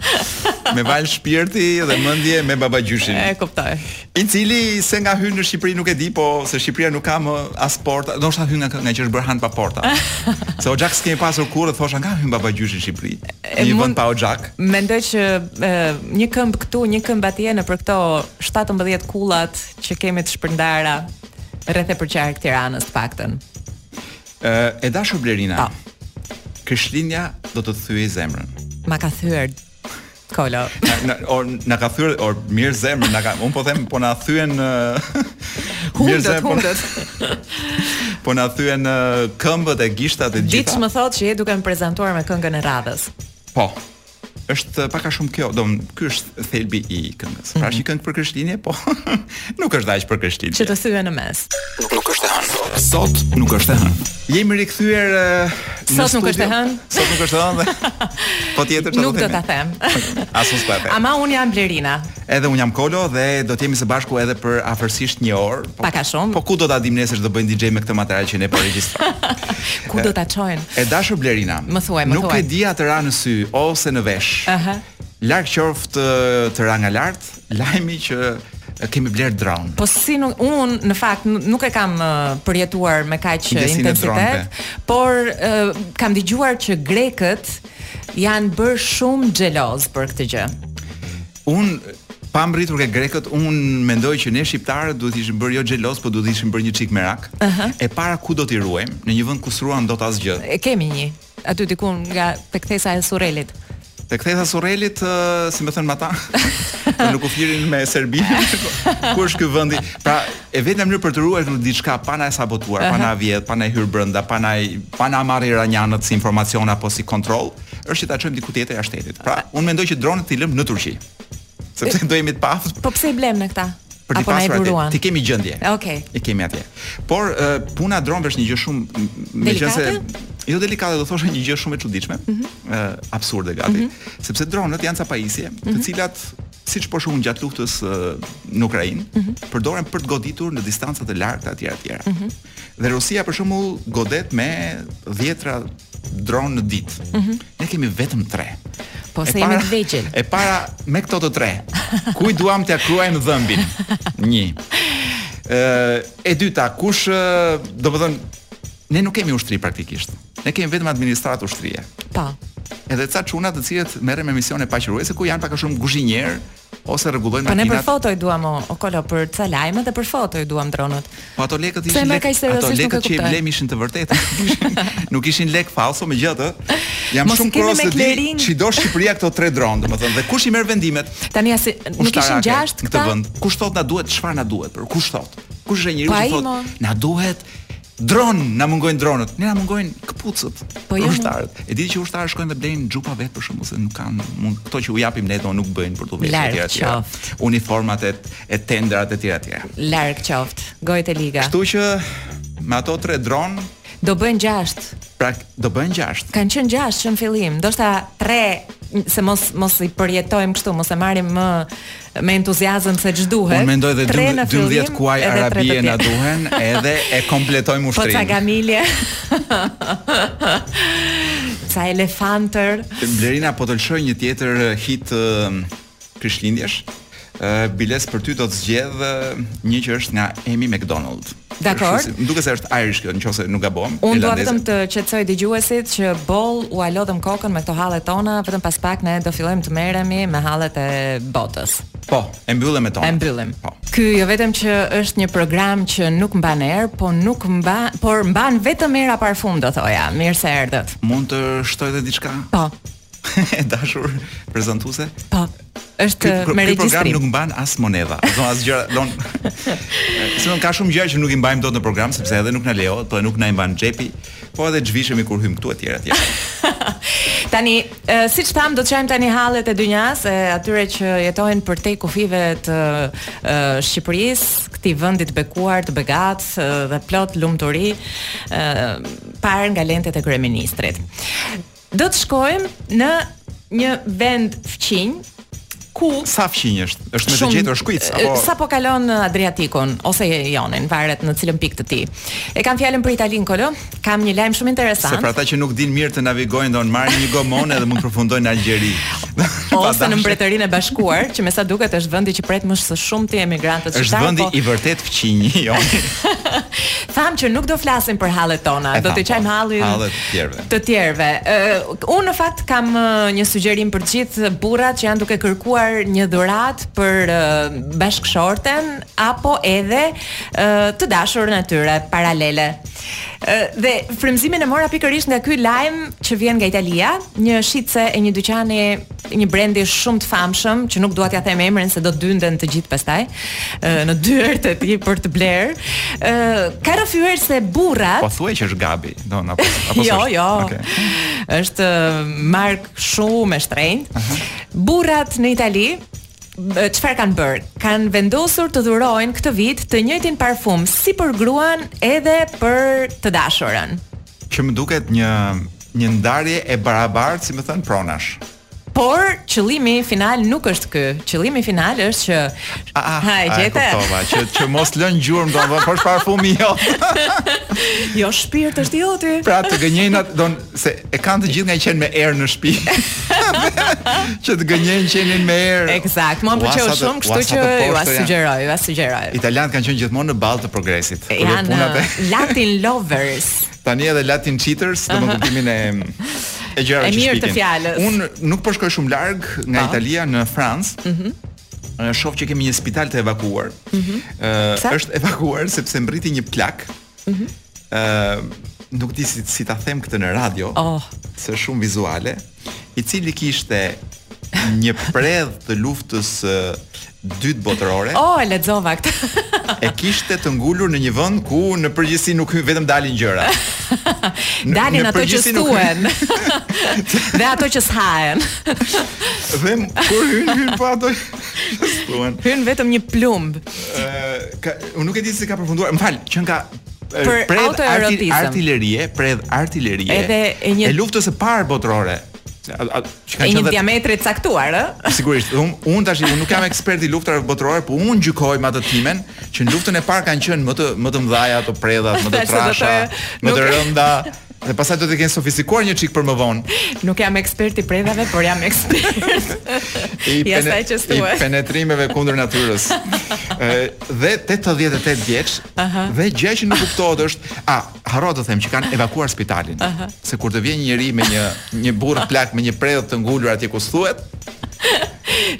Speaker 1: me val shpirti dhe mendje me babagjyshin.
Speaker 2: E kuptoj.
Speaker 1: I cili se nga hyn në Shqipëri nuk e di, po se Shqipëria nuk ka më as porta, do shta hyn nga nga që është bërë han pa porta. Se Oxhak s'kemi pasur kurrë, thosha nga hyn babagjyshi në Shqipëri.
Speaker 2: E,
Speaker 1: Një
Speaker 2: mund-
Speaker 1: vend pa Oxhak.
Speaker 2: Mendoj që e, një këmb këtu, një këmb atje në për këto 17 kullat që kemi të shpërndara rreth e përqark Tiranës të paktën.
Speaker 1: Ë, e dashur Blerina.
Speaker 2: Pa.
Speaker 1: Krishtlindja do të të thyej zemrën.
Speaker 2: Ma ka thyer Kolo.
Speaker 1: Na, na, or na ka thyer or mirë zemrën, na ka un po them po na thyen ë, mirë
Speaker 2: Hundët,
Speaker 1: zemrën, po na-
Speaker 2: hundët.
Speaker 1: Po na thyen ë, këmbët e gishtat e
Speaker 2: Diç
Speaker 1: gjitha.
Speaker 2: më thotë që je duke më prezantuar me këngën e radhës.
Speaker 1: Po. Është pak a shumë kjo, do më- ky është thelbi i këngës. Pra është një këngë për Krishtinje, po nuk është aq për Krishtinje.
Speaker 2: Mhm. Që të thyë në mes.
Speaker 1: Sot nuk është e hënë. Jemi rikthyer ë, në
Speaker 2: Sot nuk
Speaker 1: studio.
Speaker 2: është e hënë.
Speaker 1: Sot nuk është e hënë. dhe- Po tjetër çfarë
Speaker 2: Nuk do
Speaker 1: themi?
Speaker 2: ta them.
Speaker 1: As mos po e them.
Speaker 2: Ama un jam Blerina.
Speaker 1: Edhe un jam Kolo dhe do të jemi së bashku edhe për afërsisht një orë. Po,
Speaker 2: Pak a shumë.
Speaker 1: Po ku do ta dim nesër që do bëjnë DJ me këtë material që ne po regjistrojmë.
Speaker 2: Ku do ta çojnë?
Speaker 1: E dashur Blerina.
Speaker 2: Më thuaj, më
Speaker 1: nuk
Speaker 2: thuaj.
Speaker 1: e di atë ra në sy ose në vesh.
Speaker 2: Aha.
Speaker 1: Larg qoftë eh, të ra nga lart, lajmi që eh, kemi bler drone.
Speaker 2: Po si nuk un në fakt n- nuk e kam ë, përjetuar me kaq ë,
Speaker 1: Ndjesinë e dronëve.
Speaker 2: intensitet, por ë, kam dëgjuar që grekët janë bërë shumë xheloz për këtë gjë.
Speaker 1: Un pa mbritur ke grekët, un mendoj që ne shqiptarët duhet ishim bërë jo xhelos, po duhet ishim bërë një çik merak. E para ku do t'i ruajmë? Në një vend ku s'ruan dot asgjë.
Speaker 2: E kemi një aty diku nga pekthesa e Surrelit.
Speaker 1: Te kthesa Surrelit, ë, si më thënë ata, do nuk u flirin me Serbinë. Ku është ky vendi? Pra, e vetmja mënyrë për të ruajtur diçka pa na e sabotuar, pa na vjedh, pa na e hyr brenda, pa na i- pa na marrë iranjanët si informacion apo si kontroll, është që ta çojmë diku tjetër jashtë shtetit. Pra, unë mendoj që dronet i lëm në Turqi. Sepse do jemi të paftë
Speaker 2: Po pse i blem në këta?
Speaker 1: për t'i
Speaker 2: Apo na i
Speaker 1: pasur atje.
Speaker 2: buruan?
Speaker 1: Ti kemi gjendje.
Speaker 2: Okej.
Speaker 1: E kemi atje. Por uh, puna e dronëve është një gjë shumë m- m- meqense-
Speaker 2: Delikate? Mhm.
Speaker 1: jo delikate, do thosha një gjë shumë e çuditshme, ë absurde gati, sepse dronët janë ca pajisje,
Speaker 2: Mhm.
Speaker 1: të cilat siç po shohun gjatë luftës ë, në Ukrainë,
Speaker 2: Mhm.
Speaker 1: përdoren për të goditur në distanca të larta etj etj. Dhe Rusia për shembull godet me 10 dronë në ditë.
Speaker 2: Mhm.
Speaker 1: Ne kemi vetëm 3.
Speaker 2: Po
Speaker 1: E
Speaker 2: se jemi
Speaker 1: para-
Speaker 2: të vegjël.
Speaker 1: E para me këto të tre. Kuj duam t'ja kruajmë dhëmbin? Një. Ë e dyta, kush ë, do të thënë ne nuk kemi ushtri praktikisht. Ne kemi vetëm administratë ushtrie.
Speaker 2: Po.
Speaker 1: Edhe ca çuna të cilët merren me misione paqëruese ku janë pak a shumë guzhinjer ose rregullojnë
Speaker 2: Po ne për
Speaker 1: makinat.
Speaker 2: foto i duam o, o kolo për ca lajme dhe për foto i duam dronët.
Speaker 1: Po ato lekët
Speaker 2: Pse
Speaker 1: ishin
Speaker 2: merr
Speaker 1: lek,
Speaker 2: kaq seriozisht,
Speaker 1: ato
Speaker 2: nuk e
Speaker 1: lekët që i
Speaker 2: kuptoj.
Speaker 1: blem ishin të vërteta. nuk ishin lek falso, megjithatë, jam
Speaker 2: Mos i
Speaker 1: shumë
Speaker 2: kemi
Speaker 1: kurioz
Speaker 2: me
Speaker 1: të di
Speaker 2: klerin.
Speaker 1: ç'i do Shqipëria këto tre dronë, domethënë, dhe kush i merr vendimet?
Speaker 2: Tani as nuk ishin
Speaker 1: ushtarake
Speaker 2: gjashtë
Speaker 1: në këtë
Speaker 2: këta.
Speaker 1: vend. Kush thot na duhet, çfarë na duhet? Për kush thot? Kush është njeriu
Speaker 2: Po
Speaker 1: që
Speaker 2: ai, mo.
Speaker 1: thot na duhet dron, na mungojnë dronët, ne na mungojnë këpucët.
Speaker 2: Po jo, mo.
Speaker 1: ushtarët. E di që ushtarët shkojnë dhe blejnë xhupa vet për shkakun se nuk kanë mund këto që u japim ne do nuk bëjnë për tu vetë
Speaker 2: Larg
Speaker 1: etj etj. Uniformat e, e tendrat etj etj.
Speaker 2: Larg qoftë, gojët e liga.
Speaker 1: Kështu që me ato tre dron
Speaker 2: Do bëjnë gjashtë.
Speaker 1: pra do bëjnë gjashtë.
Speaker 2: Kanë qenë gjashtë që në fillim, ndoshta 3 se mos mos i përjetojmë kështu, mos e marrim më me entuziazëm se ç'duhet.
Speaker 1: Unë mendoj dhe
Speaker 2: Tre në
Speaker 1: 12
Speaker 2: fillim,
Speaker 1: 12 kuaj
Speaker 2: edhe tre të
Speaker 1: arabie na
Speaker 2: tjerë.
Speaker 1: duhen, edhe e kompletojmë
Speaker 2: Po ca
Speaker 1: ushtrinë.
Speaker 2: gamilje. ca elefantër.
Speaker 1: Blerina po të lëshoj një tjetër eh, hit eh, Krishtlindjesh. Ë biles për ty do të zgjedh eh, një që është nga Amy McDonald.
Speaker 2: Dakor.
Speaker 1: Kështu si- Më duket se është Irish kjo, nëse nuk gabon.
Speaker 2: Unë dua
Speaker 1: irlandeze.
Speaker 2: vetëm të qetësoj dëgjuesit që boll u alodhëm kokën me këto hallet tona, vetëm pas pak ne do fillojmë të merremi me hallet e botës.
Speaker 1: Po, e mbyllëm me tonë.
Speaker 2: E mbyllim.
Speaker 1: Po.
Speaker 2: Ky jo vetëm që është një program që nuk mban erë, po nuk mban, por mban vetëm era parfum do thoja. Mirë se erdhët.
Speaker 1: Mund të shtoj edhe diçka?
Speaker 2: Po.
Speaker 1: e dashur prezantuese.
Speaker 2: Po. Është
Speaker 1: Ky-
Speaker 2: me
Speaker 1: ky program
Speaker 2: regjistrim.
Speaker 1: nuk mban as monedha. Do as gjëra, don. Sinon ka shumë gjëra që nuk i mbajmë dot në program sepse edhe nuk na lejohet, po nuk na i mban xhepi, po edhe zhvishemi kur hym këtu etj etj.
Speaker 2: Tani, e, siç tham, do të çojmë tani hallet e dynjas, e atyre që jetojnë përtej kufive të e, Shqipërisë, këtij vendi të bekuar, të begat e, dhe plot lumturi, ë parë nga lentet e kryeministrit. Do të shkojmë në një vend fqinj ku
Speaker 1: Sa fqinj është? Është me të gjetur shkuic apo
Speaker 2: sa po kalon Adriatikun ose Jonin, varet në cilën pikë të ti. E kam fjalën për Italinë kolo, kam një lajm shumë interesant.
Speaker 1: Se pra- për ata që nuk din mirë të navigojnë, do në marrin një gomon edhe mund të përfundojnë në Algjeri.
Speaker 2: ose në
Speaker 1: Mbretëri.
Speaker 2: Mbretërinë e Bashkuar, që me sa duket është vendi që pret më së shumti emigrantët
Speaker 1: Është vendi
Speaker 2: po-
Speaker 1: i vërtet fqinj, jo.
Speaker 2: tham që nuk do flasim për hallet tona,
Speaker 1: E
Speaker 2: do të
Speaker 1: tham,
Speaker 2: qajmë
Speaker 1: po,
Speaker 2: hallin
Speaker 1: hallet të tjerëve.
Speaker 2: Të tjerëve. Ë, unë në fakt kam ë, një sugjerim për të gjithë burrat që janë duke kërkuar një dhuratë për uh, bashkëshorten apo edhe ë, të dashurën e tyre paralele. Ë, Dhe frymëzimin e mora pikërisht nga ky lajm që vjen nga Italia, një shitse e një dyqani, një brendi shumë të famshëm që nuk dua t'ja them emrin se do të dynden të gjithë pastaj ë, në dyert e tij për të bler. Ë ka rrëfyer se burrat
Speaker 1: Po thuaj që është gabi, do apo apo
Speaker 2: jo,
Speaker 1: s'është?
Speaker 2: jo.
Speaker 1: Okej.
Speaker 2: Është mark shumë e shtrenjtë. Burrat në Itali b- çfarë kanë bërë? Kanë vendosur të dhurojnë këtë vit të njëjtin parfum si për gruan edhe për të dashurën.
Speaker 1: Që më duket një një ndarje e barabartë, si më thënë, pronash.
Speaker 2: Por qëllimi final nuk është ky. Qëllimi final është që ha e gjete?
Speaker 1: kuptova, që që mos lën gjurmë, domethënë, po është parfumi jo.
Speaker 2: Jo shpirt është i joti.
Speaker 1: Pra të gënjenat, don se e kanë të gjithë nga i qenë me erë në shtëpi. që të gënjen qenin me erë.
Speaker 2: Eksakt, mua më
Speaker 1: Ua,
Speaker 2: pëlqeu
Speaker 1: sa të-
Speaker 2: shumë, kështu
Speaker 1: ua, sa
Speaker 2: që
Speaker 1: të
Speaker 2: ju
Speaker 1: poshtë janë.
Speaker 2: sugjeroj, ju sugjeroj.
Speaker 1: Italianët kanë qenë gjithmonë në ballë të progresit. Kur
Speaker 2: Janë
Speaker 1: punat e-
Speaker 2: eh, Latin lovers.
Speaker 1: Tani edhe Latin cheaters, do më kuptimin e e gjërave
Speaker 2: E
Speaker 1: që shpikin.
Speaker 2: mirë të fjalës.
Speaker 1: Unë nuk po shkoj shumë larg nga
Speaker 2: Po.
Speaker 1: Italia në Francë. Mhm. Shoh që kemi një spital të evakuar. Ëh,
Speaker 2: Mhm. Pse?
Speaker 1: është evakuar sepse mbriti një plak.
Speaker 2: Mhm.
Speaker 1: Ëh, nuk di si, si ta them këtë në radio,
Speaker 2: Oh.
Speaker 1: se është shumë vizuale, i cili kishte një predh të luftës ë, dytë botërore
Speaker 2: Oh, e lexova këtë.
Speaker 1: e kishte të ngulur në një vend ku në përgjithësi nuk hy- vetëm dalin gjëra. Në-
Speaker 2: Dalin
Speaker 1: në
Speaker 2: ato që
Speaker 1: përgjithësi nuk-
Speaker 2: stuen. dhe ato që s'hahen.
Speaker 1: Dhe m- kur hyn hyn po ato stuan.
Speaker 2: Hyn vetëm një plumb.
Speaker 1: Ë, ka- unë nuk e di se ka përfunduar. Më fal, që nga e,
Speaker 2: Për autoerotizëm.
Speaker 1: artillerie, predh artillerie.
Speaker 2: Edhe e një-
Speaker 1: e luftës së parë botërore. Se- a- a- Që ka
Speaker 2: E
Speaker 1: qenë
Speaker 2: një
Speaker 1: dhe-
Speaker 2: diametri të caktuar, ë?
Speaker 1: Sigurisht, unë un tash unë nuk jam ekspert i luftrave botërore, por unë gjykoj me atë timen që në luftën e parë kanë qenë më të më të mëdha ato predhat, më të
Speaker 2: Se do të-
Speaker 1: trasha, më të
Speaker 2: nuk-
Speaker 1: rënda. Dhe pasaj do të kenë sofistikuar një çik për më vonë.
Speaker 2: Nuk jam ekspert i predave, por jam ekspert.
Speaker 1: I,
Speaker 2: Ja, sa e që
Speaker 1: i
Speaker 2: stuaj.
Speaker 1: penetrimeve kundër natyrës. Ë dhe 88 vjeç dhe gjë që nuk kuptohet është, a harrova të them që kanë evakuar spitalin. Se kur të vjen një njerëz me një një burrë plak me një predhë të ngulur atje ku thuhet,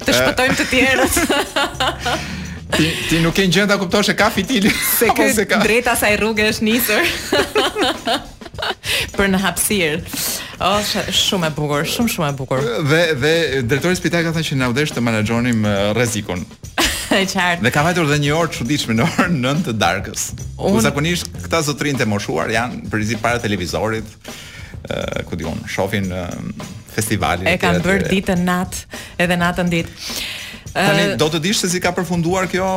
Speaker 2: të shpëtojmë të tjerët
Speaker 1: ti ti nuk ke gjën ta kuptosh se ka fitili
Speaker 2: se
Speaker 1: apo
Speaker 2: ky drejt asaj rruge është nisur. për në hapësirë. Oh, sh- shumë e bukur, shumë shumë e bukur.
Speaker 1: dhe dhe drejtori i spitalit ka thënë që na udesh të menaxhonim eh, rrezikun.
Speaker 2: E qartë.
Speaker 1: Dhe ka vajtur edhe një orë çuditshme në orën 9 të darkës. Ku
Speaker 2: Unë-
Speaker 1: zakonisht këta zotrinë të moshuar janë përzi para televizorit, ë ku diun, shohin uh, festivalin.
Speaker 2: E
Speaker 1: etj,
Speaker 2: kanë
Speaker 1: etj.
Speaker 2: bërë ditën natë, edhe natën ditë.
Speaker 1: Tani do të dish se si ka përfunduar kjo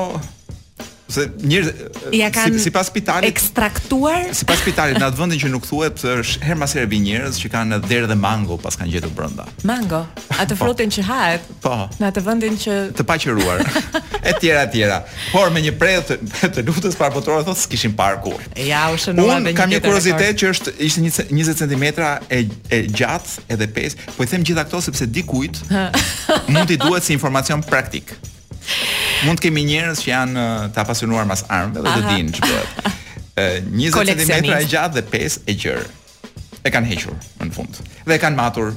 Speaker 1: se njerëz
Speaker 2: Ja kanë
Speaker 1: si, sipas spitalit
Speaker 2: ekstraktuar
Speaker 1: sipas spitalit në atë vendin që nuk thuhet është her mas here vi njerëz që kanë derë dhe mango pas kanë gjetur brenda.
Speaker 2: mango, atë
Speaker 1: Po.
Speaker 2: frutin që hahet.
Speaker 1: Po.
Speaker 2: Në atë vendin që
Speaker 1: të paqëruar. e tjera e tjera. Por me një preh të, të lutës parapotore thotë s'kishin parë kur.
Speaker 2: ja u shënua
Speaker 1: Unë
Speaker 2: dhe
Speaker 1: kam një
Speaker 2: tjetër rekord.
Speaker 1: kuriozitet që është ishte një ce- 20 cm e, e gjatë edhe 5, po i them gjitha këto sepse dikujt mund t'i duhet si informacion praktik. Mund të kemi njerëz që janë ë, të apasionuar mas armëve dhe të
Speaker 2: Aha.
Speaker 1: dinë ç'bëhet. Ë, 20 cm e
Speaker 2: Koleksionist.
Speaker 1: gjatë dhe 5 e gjerë. E kanë hequr në fund. Dhe e kanë matur.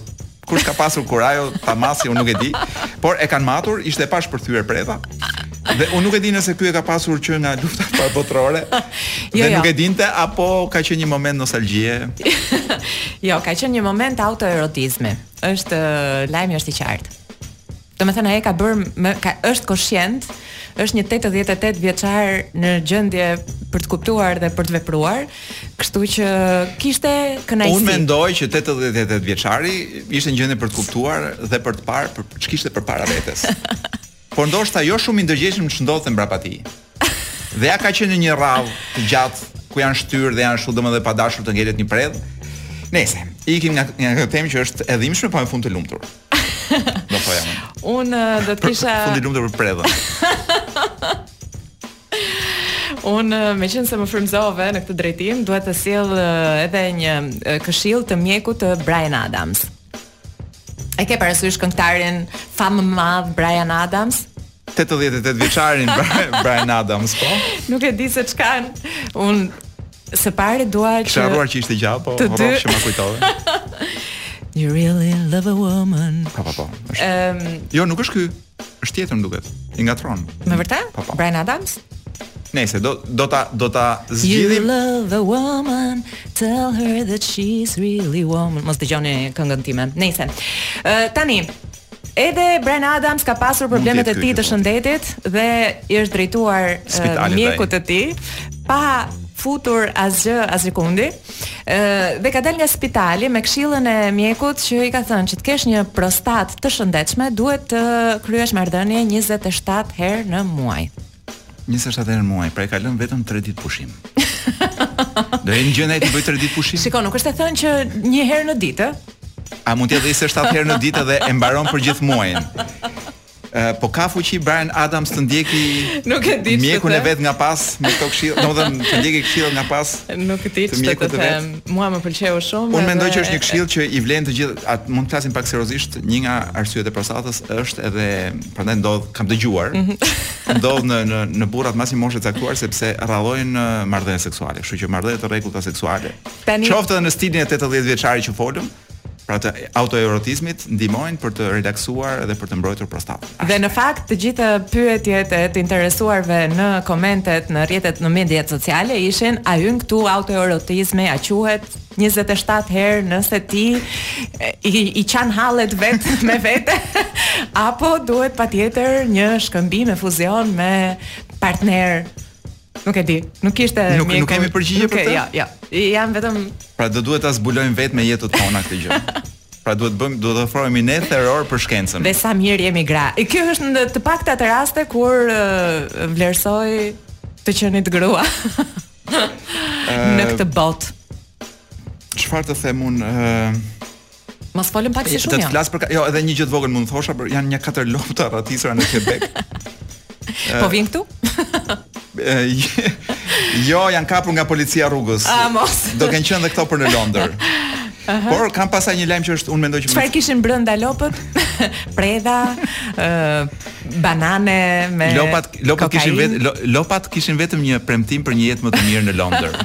Speaker 1: Kush ka pasur kurajo ta masi unë nuk e di, por e kanë matur, ishte e pash përthyer preva. Dhe unë nuk e di nëse ky e ka pasur që nga lufta parbotrore.
Speaker 2: Jo,
Speaker 1: dhe
Speaker 2: jo.
Speaker 1: nuk e dinte apo ka qenë një moment nostalgjie.
Speaker 2: Jo, ka qenë një moment autoerotizmi. Është ë, lajmi është i qartë. Do me thënë aje ka bërë, më, ka, është koshient, është një 88 vjeçar në gjendje për të kuptuar dhe për të vepruar, kështu që kishte kënaqësi.
Speaker 1: Unë mendoj që 88 vjeçari ishte në gjendje për të kuptuar dhe për të parë për ç'kishte përpara vetes. Por ndoshta jo shumë i ndërgjegjshëm që ndodhte mbrapa tij. Dhe ja ka qenë në një radhë të gjatë ku janë shtyrë dhe janë shumë domethënë pa dashur të ngelet një predh. Nese, ikim nga nga kjo temë që është e dhimbshme po në fund të lumtur. Do thoya unë.
Speaker 2: Unë ë, do të kisha
Speaker 1: Fund i lumtur për predhën.
Speaker 2: Unë eh, me qenë se më frymzove në këtë drejtim, duhet të sjell eh, edhe një eh, këshill të mjekut të Brian Adams. E ke parasysh këngëtarin famë madh Brian Adams?
Speaker 1: 88 vjeçarin Brian- Brian Adams po.
Speaker 2: Nuk e di se çkan. Unë së pari dua që
Speaker 1: Kisha harruar që ishte gjallë, po
Speaker 2: Të dy-
Speaker 1: rrof që ma kujtove.
Speaker 2: You really love a woman.
Speaker 1: Po po po. Është
Speaker 2: Ëm,
Speaker 1: Jo, nuk është ky. Është tjetër më duket. I ngatron.
Speaker 2: me vërtet?
Speaker 1: Po, po.
Speaker 2: Brian Adams?
Speaker 1: Nëse do do ta do ta
Speaker 2: You
Speaker 1: zgjidhim.
Speaker 2: love a woman, tell her that she's really woman. Mos dëgjoni këngën time. Nejse. Ë, tani Edhe Brian Adams ka pasur problemet e
Speaker 1: jetë ky
Speaker 2: tij
Speaker 1: që
Speaker 2: të
Speaker 1: po.
Speaker 2: shëndetit dhe i është drejtuar ë,
Speaker 1: Spitalit
Speaker 2: mjekut
Speaker 1: ai.
Speaker 2: të tij pa futur asgjë as sekundi. Ë dhe ka dalë nga spitali me këshillën e mjekut që i ka thënë që të kesh një prostat të shëndetshme duhet të kryesh marrëdhënie 27 herë në muaj.
Speaker 1: 27 herë në muaj, pra e ka lënë vetëm 3 ditë pushim. Do e një gjëna e ti bëj 3 ditë pushim?
Speaker 2: Shikon, nuk është e thënë që një herë në ditë, ë?
Speaker 1: A mund t'jetë 27 herë në ditë dhe e mbaron për gjithë muajin? Ë, po ka fuqi Brian Adams të ndjeki
Speaker 2: Nuk e di ç'të
Speaker 1: mjekun e
Speaker 2: them.
Speaker 1: vet nga pas me këto këshillë, domethënë të ndjeki këshillën nga pas.
Speaker 2: Nuk e di
Speaker 1: Të
Speaker 2: ç'të të
Speaker 1: mjekut të vet.
Speaker 2: them. Mua më pëlqeu shumë.
Speaker 1: Unë mendoj
Speaker 2: edhe-
Speaker 1: që është një këshill që i vlen të gjithë, atë mund të flasim pak seriozisht, një nga arsyet e prostatës është edhe prandaj ndodh, kam dëgjuar,
Speaker 2: Mhm.
Speaker 1: ndodh në në në burrat mas një moshë të caktuar sepse rradhojnë ë, marrëdhënie seksuale, kështu që marrëdhënie të rregullta seksuale.
Speaker 2: Tani-
Speaker 1: Qoftë edhe në stilin e 80 vjeçari që folëm, pra të autoerotizmit ndihmojnë për të relaksuar dhe për të mbrojtur prostatën.
Speaker 2: Dhe në fakt të gjitha pyetjet e të interesuarve në komentet në rrjetet në mediat sociale ishin a hyn këtu autoerotizmi, a quhet 27 herë nëse ti e, i, i qan hallet vet me vete apo duhet patjetër një shkëmbim e fuzion me partner Nuk e di, nuk ishte
Speaker 1: Nuk- nuk
Speaker 2: mjeku-
Speaker 1: kemi përgjigje
Speaker 2: nuk e-
Speaker 1: për këtë?
Speaker 2: Jo, jo. Jam vetëm
Speaker 1: Pra do duhet ta zbulojmë vetë me jetën tona këtë gjë. Pra duhet bëjmë, duhet të ofrohemi ne theror për shkencën.
Speaker 2: Dhe sa mirë jemi gra. E, Kjo është në të pak të raste kur ë, vlerësoj të qenit grua në këtë botë.
Speaker 1: Çfarë të them unë? uh, ë,
Speaker 2: Mos folëm pak si
Speaker 1: do
Speaker 2: shumë
Speaker 1: të
Speaker 2: jo.
Speaker 1: flas për ka- jo edhe një gjë të vogël mund thosha, por janë një katër lopta ratisura në Quebec.
Speaker 2: Po vjen këtu?
Speaker 1: E, j- jo, janë kapur nga policia rrugës.
Speaker 2: A, Ah, mos.
Speaker 1: Do kanë qenë edhe këto për në Londër. Por kam pasaj një lajm që është unë mendoj që
Speaker 2: Çfarë kishin brenda lopët? Predha, ë banane me
Speaker 1: lopat lopat kishin
Speaker 2: kokain.
Speaker 1: vetë lo- lopat kishin vetëm një premtim për një jetë më të mirë në Londër.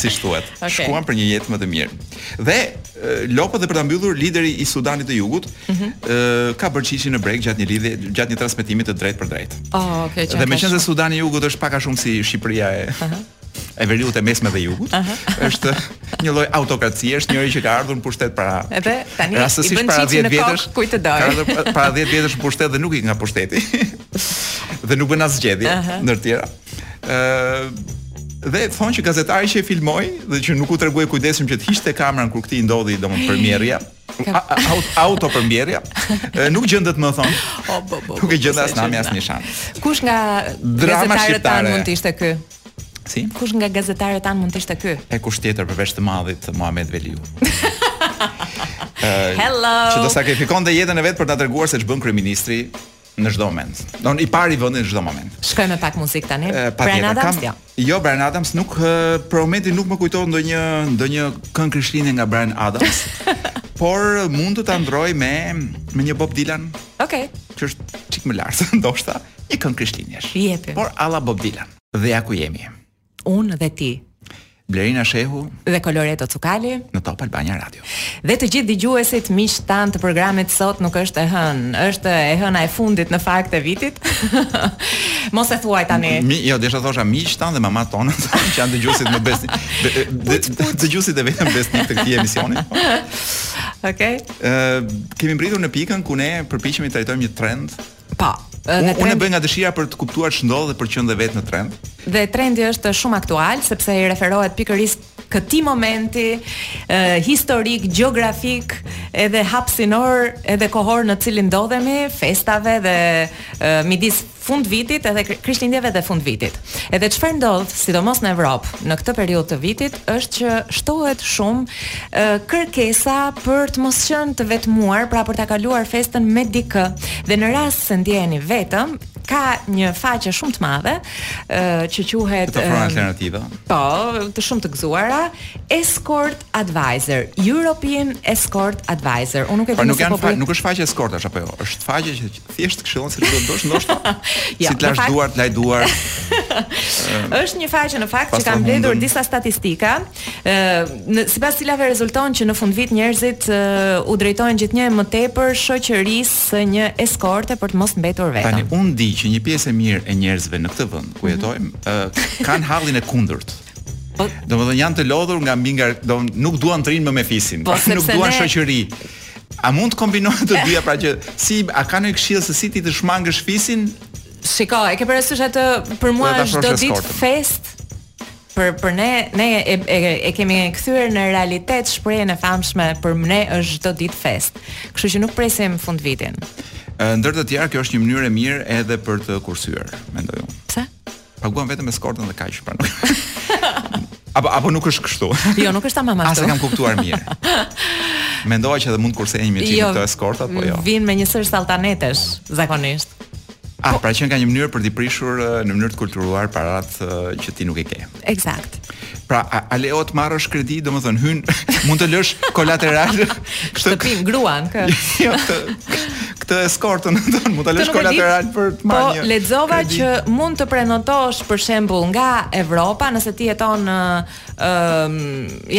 Speaker 1: Si thuhet.
Speaker 2: Okej.
Speaker 1: Shkuan për një jetë më të mirë. Dhe e, lopët dhe për ta mbyllur lideri i Sudanit të Jugut,
Speaker 2: Mhm.
Speaker 1: e, ka bërë qishin në breg gjatë një lidhje, gjatë një transmetimi të drejtë për drejtë.
Speaker 2: Oh, kjo që.
Speaker 1: Dhe me qenë se Sudani i Jugut është pak a shumë si Shqipëria e e veriut e mesme dhe jugut. Është një lloj autokracie, është njëri që ka ardhur në pushtet para.
Speaker 2: Edhe tani i
Speaker 1: rastësisht
Speaker 2: bën
Speaker 1: para 10
Speaker 2: qiqin në kokë
Speaker 1: vjetësh.
Speaker 2: kujt të doj.
Speaker 1: Ka ardhur pa- para 10 vjetësh në pushtet dhe nuk i nga pushteti. dhe nuk bën as zgjedhje ndër tjera. Ë dhe thonë që gazetari që e filmoi dhe që nuk u tregoi kujdesim që të hiqte kamerën kur kthi i ndodhi domon premierja a- a- au- autopërmbjerja. Ë, Nuk gjendet më thon.
Speaker 2: O, bo, bo,
Speaker 1: Nuk e
Speaker 2: bo,
Speaker 1: gjend
Speaker 2: po,
Speaker 1: as
Speaker 2: se
Speaker 1: nami
Speaker 2: gjenda.
Speaker 1: as një shans.
Speaker 2: Kush nga
Speaker 1: Drama
Speaker 2: gazetarët
Speaker 1: shqiptare.
Speaker 2: tanë mund të ishte ky?
Speaker 1: Si?
Speaker 2: Kush nga gazetarët tanë mund të ishte ky?
Speaker 1: E kush tjetër përveç të madhit të Muhamet Veliu.
Speaker 2: Oh.
Speaker 1: Ë,
Speaker 2: Hello.
Speaker 1: Që do sakrifikonte jetën e vet për ta treguar se ç'bën kryeministri në çdo moment. Don i pari vendin në çdo moment.
Speaker 2: Shkojmë me pak muzikë tani.
Speaker 1: E, tjetër,
Speaker 2: Brian Adams, jo.
Speaker 1: Jo, Brian Adams nuk e, për momentin nuk më kujton ndonjë ndonjë këngë krishtlindje nga Brian Adams. por mund të ta ndroj me me një Bob Dylan
Speaker 2: Okej.
Speaker 1: që është çik më lart, ndoshta një këngë krishtlindjesh.
Speaker 2: Jepi.
Speaker 1: Por alla Bob Dylan. Dhe ja ku jemi.
Speaker 2: Unë dhe ti
Speaker 1: Blerina Shehu
Speaker 2: dhe Coloreto Cukali
Speaker 1: në Top Albania Radio.
Speaker 2: dhe të gjithë dëgjuesit miq tan të programit sot nuk është e hën, është e hëna e fundit në fakt e vitit. Mos e thuaj tani.
Speaker 1: Mi, jo, desha thosha miq tan dhe mamat tona që janë dëgjuesit më besni. be- be- Dëgjuesit e vetëm besnik të këtij emisioni.
Speaker 2: Okej.
Speaker 1: Ë kemi mbritur në pikën ku ne përpiqemi të trajtojmë një trend
Speaker 2: Po.
Speaker 1: Unë unë
Speaker 2: Dhe
Speaker 1: e
Speaker 2: trendi,
Speaker 1: bëj nga dëshira për të kuptuar ç'ndodh dhe për qëndë vetë në trend.
Speaker 2: dhe trendi është shumë aktual sepse i referohet pikërisht këtij momenti eh, historik, gjeografik, edhe hapsinor, edhe kohor në cilin ndodhemi, festave dhe eh, midis fund vitit edhe kri- krishtlindjeve dhe fund vitit. Edhe çfarë ndodh, sidomos në Evropë, në këtë periudhë të vitit, është që shtohet shumë eh, kërkesa për të mos qenë të vetmuar, pra për ta kaluar festën me dikë. Dhe në rast se ndjeheni vetëm, ka një faqe shumë të madhe eh, që quhet
Speaker 1: Të ofron
Speaker 2: eh,
Speaker 1: alternativa.
Speaker 2: Po, të shumë të gëzuara, Escort Advisor, European Escort Advisor. Unë nuk e
Speaker 1: Por Pra,
Speaker 2: di
Speaker 1: nuk
Speaker 2: nëse
Speaker 1: janë
Speaker 2: po
Speaker 1: fa,
Speaker 2: bëj-
Speaker 1: nuk është faqe eskortash apo jo. Është faqe që thjesht të këshillon se ç'do të bësh ndoshta.
Speaker 2: Ja,
Speaker 1: si
Speaker 2: në
Speaker 1: të lash
Speaker 2: fakt-
Speaker 1: duart, laj duar.
Speaker 2: Është një faqe në fakt që
Speaker 1: Pas
Speaker 2: kanë
Speaker 1: të
Speaker 2: mbledhur
Speaker 1: hundën.
Speaker 2: disa statistika, ë në- sipas cilave rezulton që në fundvit njerëzit ë, u drejtojnë gjithnjë më tepër shoqërisë së një eskorte për të mos mbetur
Speaker 1: Tani
Speaker 2: vetëm.
Speaker 1: unë di që një pjesë e mirë e njerëzve në këtë vend ku jetojmë, ë, kanë hallin e kundërt.
Speaker 2: Mhm. Po
Speaker 1: Domethënë janë të lodhur nga mbi nga do nuk duan të rinë më me fisin,
Speaker 2: Po,
Speaker 1: pra, nuk
Speaker 2: sepse
Speaker 1: duan
Speaker 2: ne-
Speaker 1: shoqëri. A mund të kombinohen të dyja pra që si a ka ndonjë këshill se si ti të shmangësh fisin?
Speaker 2: Shiko, e ke parasysh atë për mua
Speaker 1: Dhe ta
Speaker 2: çdo
Speaker 1: afrosh
Speaker 2: ditë
Speaker 1: eskortën.
Speaker 2: fest për për ne ne e, e, e kemi kthyer në realitet shprehjen e famshme për ne është çdo ditë fest. Kështu që nuk presim fund vitin.
Speaker 1: Ë, Ndër të tjerë, kjo është një mënyrë e mirë edhe për të kursyer, mendoj unë.
Speaker 2: Pse?
Speaker 1: paguam vetëm me skortën dhe kaq, pra nuk. apo apo nuk është kështu.
Speaker 2: Jo, nuk është tamam
Speaker 1: As e
Speaker 2: ashtu.
Speaker 1: kam kuptuar mirë. Mendova që edhe mund kursejnë me çim këto eskortat, po jo.
Speaker 2: Vin me një sër saltanetesh zakonisht.
Speaker 1: Ah, pra që ka një mënyrë për t'i prishur eh, në mënyrë të kulturuar parat eh, që ti nuk e ke.
Speaker 2: Eksakt.
Speaker 1: Pra, a, a leo të marrësh kredi, domethënë hyn, mund të lësh kolateral këtë
Speaker 2: Shtëpin gruan kë.
Speaker 1: jo, këtë këtë eskortën tonë, mund ta lësh
Speaker 2: Të nuk e di,
Speaker 1: kolateral për të marrë një.
Speaker 2: Po lexova
Speaker 1: kredi.
Speaker 2: që mund të prenotosh për shembull nga Evropa, nëse ti jeton në ëm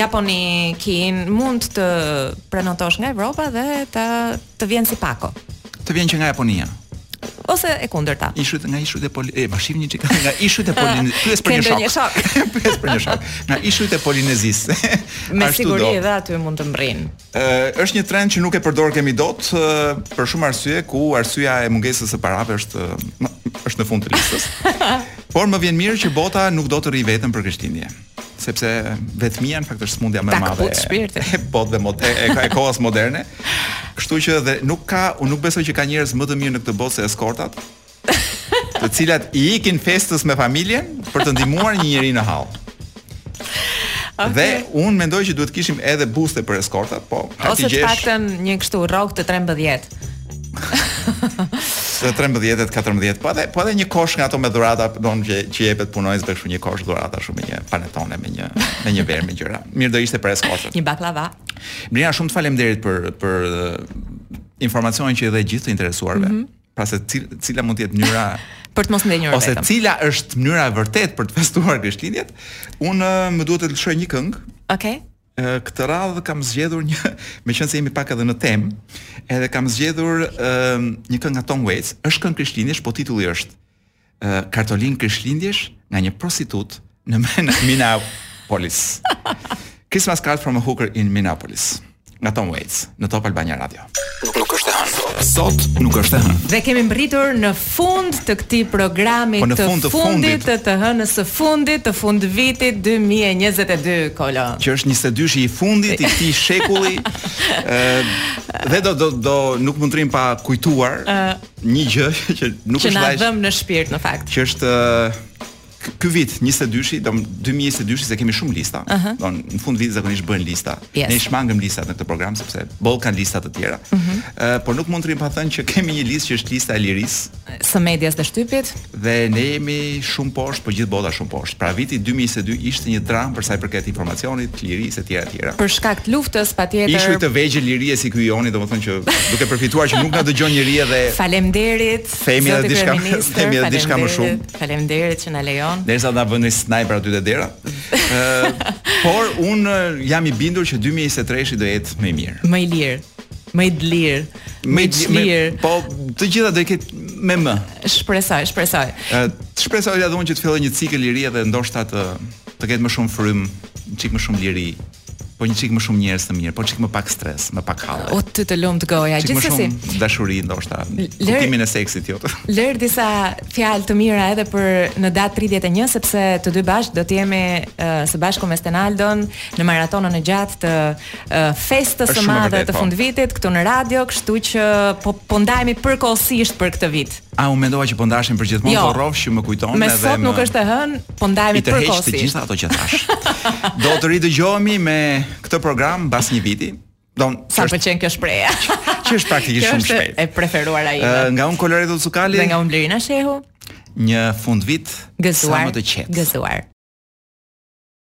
Speaker 2: Japoni, Kin, mund të prenotosh nga Evropa dhe të të vjen si pako.
Speaker 1: të vjen që nga Japonia.
Speaker 2: Ose e kundërta.
Speaker 1: Ishut nga ishut e poli... E, ma shih një çik nga ishut e polinezis. Pyes për
Speaker 2: Ke
Speaker 1: një shok.
Speaker 2: ndonjë
Speaker 1: Pyes për një shok. Nga ishut e polinezis.
Speaker 2: Me
Speaker 1: Ashtu
Speaker 2: siguri
Speaker 1: do.
Speaker 2: edhe aty mund të mbrin.
Speaker 1: Ë, është një trend që nuk e përdor kemi dot ë, për shumë arsye ku arsyeja e mungesës së parave është ë, është në fund të listës. Por më vjen mirë që bota nuk do të rri vetëm për Krishtlindje sepse vetmia në fakt është smundja më e
Speaker 2: Ta
Speaker 1: madhe
Speaker 2: kaput shpirtin.
Speaker 1: e botëve mod- e, e, e kohës moderne. Kështu që dhe nuk ka unë nuk besoj që ka njerëz më të mirë në këtë botë se eskortat, të cilat i ikin festës me familjen për të ndihmuar një njeri në hall. Dhe unë mendoj që duhet kishim edhe buste për eskortat, po ha ti
Speaker 2: Ose të
Speaker 1: gjesh
Speaker 2: paktën një kështu rrog të 13.
Speaker 1: të 13-et, 14, po edhe po edhe një kosh nga ato me dhurata, don që që jepet punonjësve kështu një kosh dhurata shumë me një panetone me një me një verë me gjëra. Mirë do ishte për eskortat.
Speaker 2: Një baklava.
Speaker 1: Mirina, shumë të faleminderit për për eh, informacionin që i dhe gjithë të interesuarve. Pra se cil, cila mund të jetë mënyra
Speaker 2: Për të mos ndenjur
Speaker 1: ose
Speaker 2: vetëm.
Speaker 1: cila është mënyra e vërtet për të festuar Krishtlindjet, unë ë, më duhet të lëshoj një këngë.
Speaker 2: Okej.
Speaker 1: Ë, Këtë radhë kam zgjedhur një, me qënë se jemi pak edhe në temë, edhe kam zgjedhur ë, një këngë nga Tom Waits. Është këngë krishtlindjesh, po titulli është ë, Kartolin krishtlindjesh nga një prostitut në Min- Minneapolis. Christmas card from a hooker in Minneapolis. nga Tom Waits në Top Albania Radio.
Speaker 3: Nuk është e hënë.
Speaker 1: Sot nuk është e hënë.
Speaker 2: Dhe kemi mbritur në fund të këtij programi
Speaker 1: Po, në
Speaker 2: të,
Speaker 1: fund të fundit.
Speaker 2: fundit të të hënës së fundit të fund vitit 2022 kolo.
Speaker 1: që është 22-shi i fundit i këtij shekulli. ë dhe do do do nuk mund të rim pa kujtuar një gjë që nuk
Speaker 2: Që
Speaker 1: është
Speaker 2: na
Speaker 1: dash
Speaker 2: dhëm në shpirt në fakt.
Speaker 1: që është ë, k- ky vit 22-shi, do 2022-shi se kemi shumë lista. Uh -huh. Don në fund vitit zakonisht bëhen lista.
Speaker 2: Yes.
Speaker 1: Ne i shmangëm listat në këtë program sepse boll kanë lista të tjera. Ë por nuk mund të rim pa thënë që kemi një listë që është lista e lirisë
Speaker 2: Së medias dhe shtypit.
Speaker 1: dhe ne jemi shumë poshtë, por gjithë bota shumë poshtë. Pra viti 2022 ishte një dramë për sa i përket informacionit, lirisë etj etj.
Speaker 2: Për shkak të luftës
Speaker 1: Ishuj
Speaker 2: patjetër.
Speaker 1: të vegjël lirie si ky Joni, domethënë që duke përfituar që nuk na dëgjon njëri edhe
Speaker 2: Faleminderit.
Speaker 1: Themi edhe
Speaker 2: zoti
Speaker 1: diçka-
Speaker 2: kryeministër,
Speaker 1: themi edhe diçka më
Speaker 2: faleminderit, Faleminderit që na lejon.
Speaker 1: derisa na vënë një sniper aty te dera. Ë, por un ë, jam i bindur që 2023-shi do jetë më i mirë.
Speaker 2: Më i lirë, më i lirë, më i çlirë.
Speaker 1: po të gjitha do i ketë me më.
Speaker 2: Shpresoj, shpresoj.
Speaker 1: Ë, të shpresoj edhe unë që të filloj një cikël lirie dhe ndoshta të të ketë më shumë frym, një çik më shumë liri, po një çik më shumë njerëz të mirë, po çik më pak stres, më pak halle.
Speaker 2: O ty të lumt goja,
Speaker 1: Çik më
Speaker 2: gjithsesi.
Speaker 1: shumë dashuri ndoshta,
Speaker 2: Lër-
Speaker 1: kuptimin e seksit jo.
Speaker 2: Lër disa fjalë të mira edhe për në datë 31 sepse të dy bashkë do të jemi uh, së bashku me Stenaldon në maratonën e gjatë të uh, festës
Speaker 1: Është
Speaker 2: së
Speaker 1: shumë e
Speaker 2: madhe
Speaker 1: vërtet,
Speaker 2: të
Speaker 1: po.
Speaker 2: fundvitit këtu në radio, kështu që po, po ndajemi përkohësisht për këtë vit.
Speaker 1: A u mendova që po ndashim për gjithmonë,
Speaker 2: Jo.
Speaker 1: po rrofsh që më kujton
Speaker 2: Me sot nuk është e hënë, po ndajemi
Speaker 1: i tërheq të
Speaker 2: përkohësisht.
Speaker 1: gjitha ato që thash. Do të ridëgjohemi me këtë program mbas një viti. Don
Speaker 2: Sa
Speaker 1: që është-
Speaker 2: pëlqen kjo shpreha.
Speaker 1: që është praktikisht
Speaker 2: Kjo
Speaker 1: shumë
Speaker 2: është
Speaker 1: shpejt.
Speaker 2: e preferuara ime.
Speaker 1: Ë, nga un Coloredo Cukali,
Speaker 2: Dhe nga unë Blerina Shehu,
Speaker 1: një fund vit sa
Speaker 2: gëzuar.
Speaker 1: më të qetë.
Speaker 2: Gëzuar.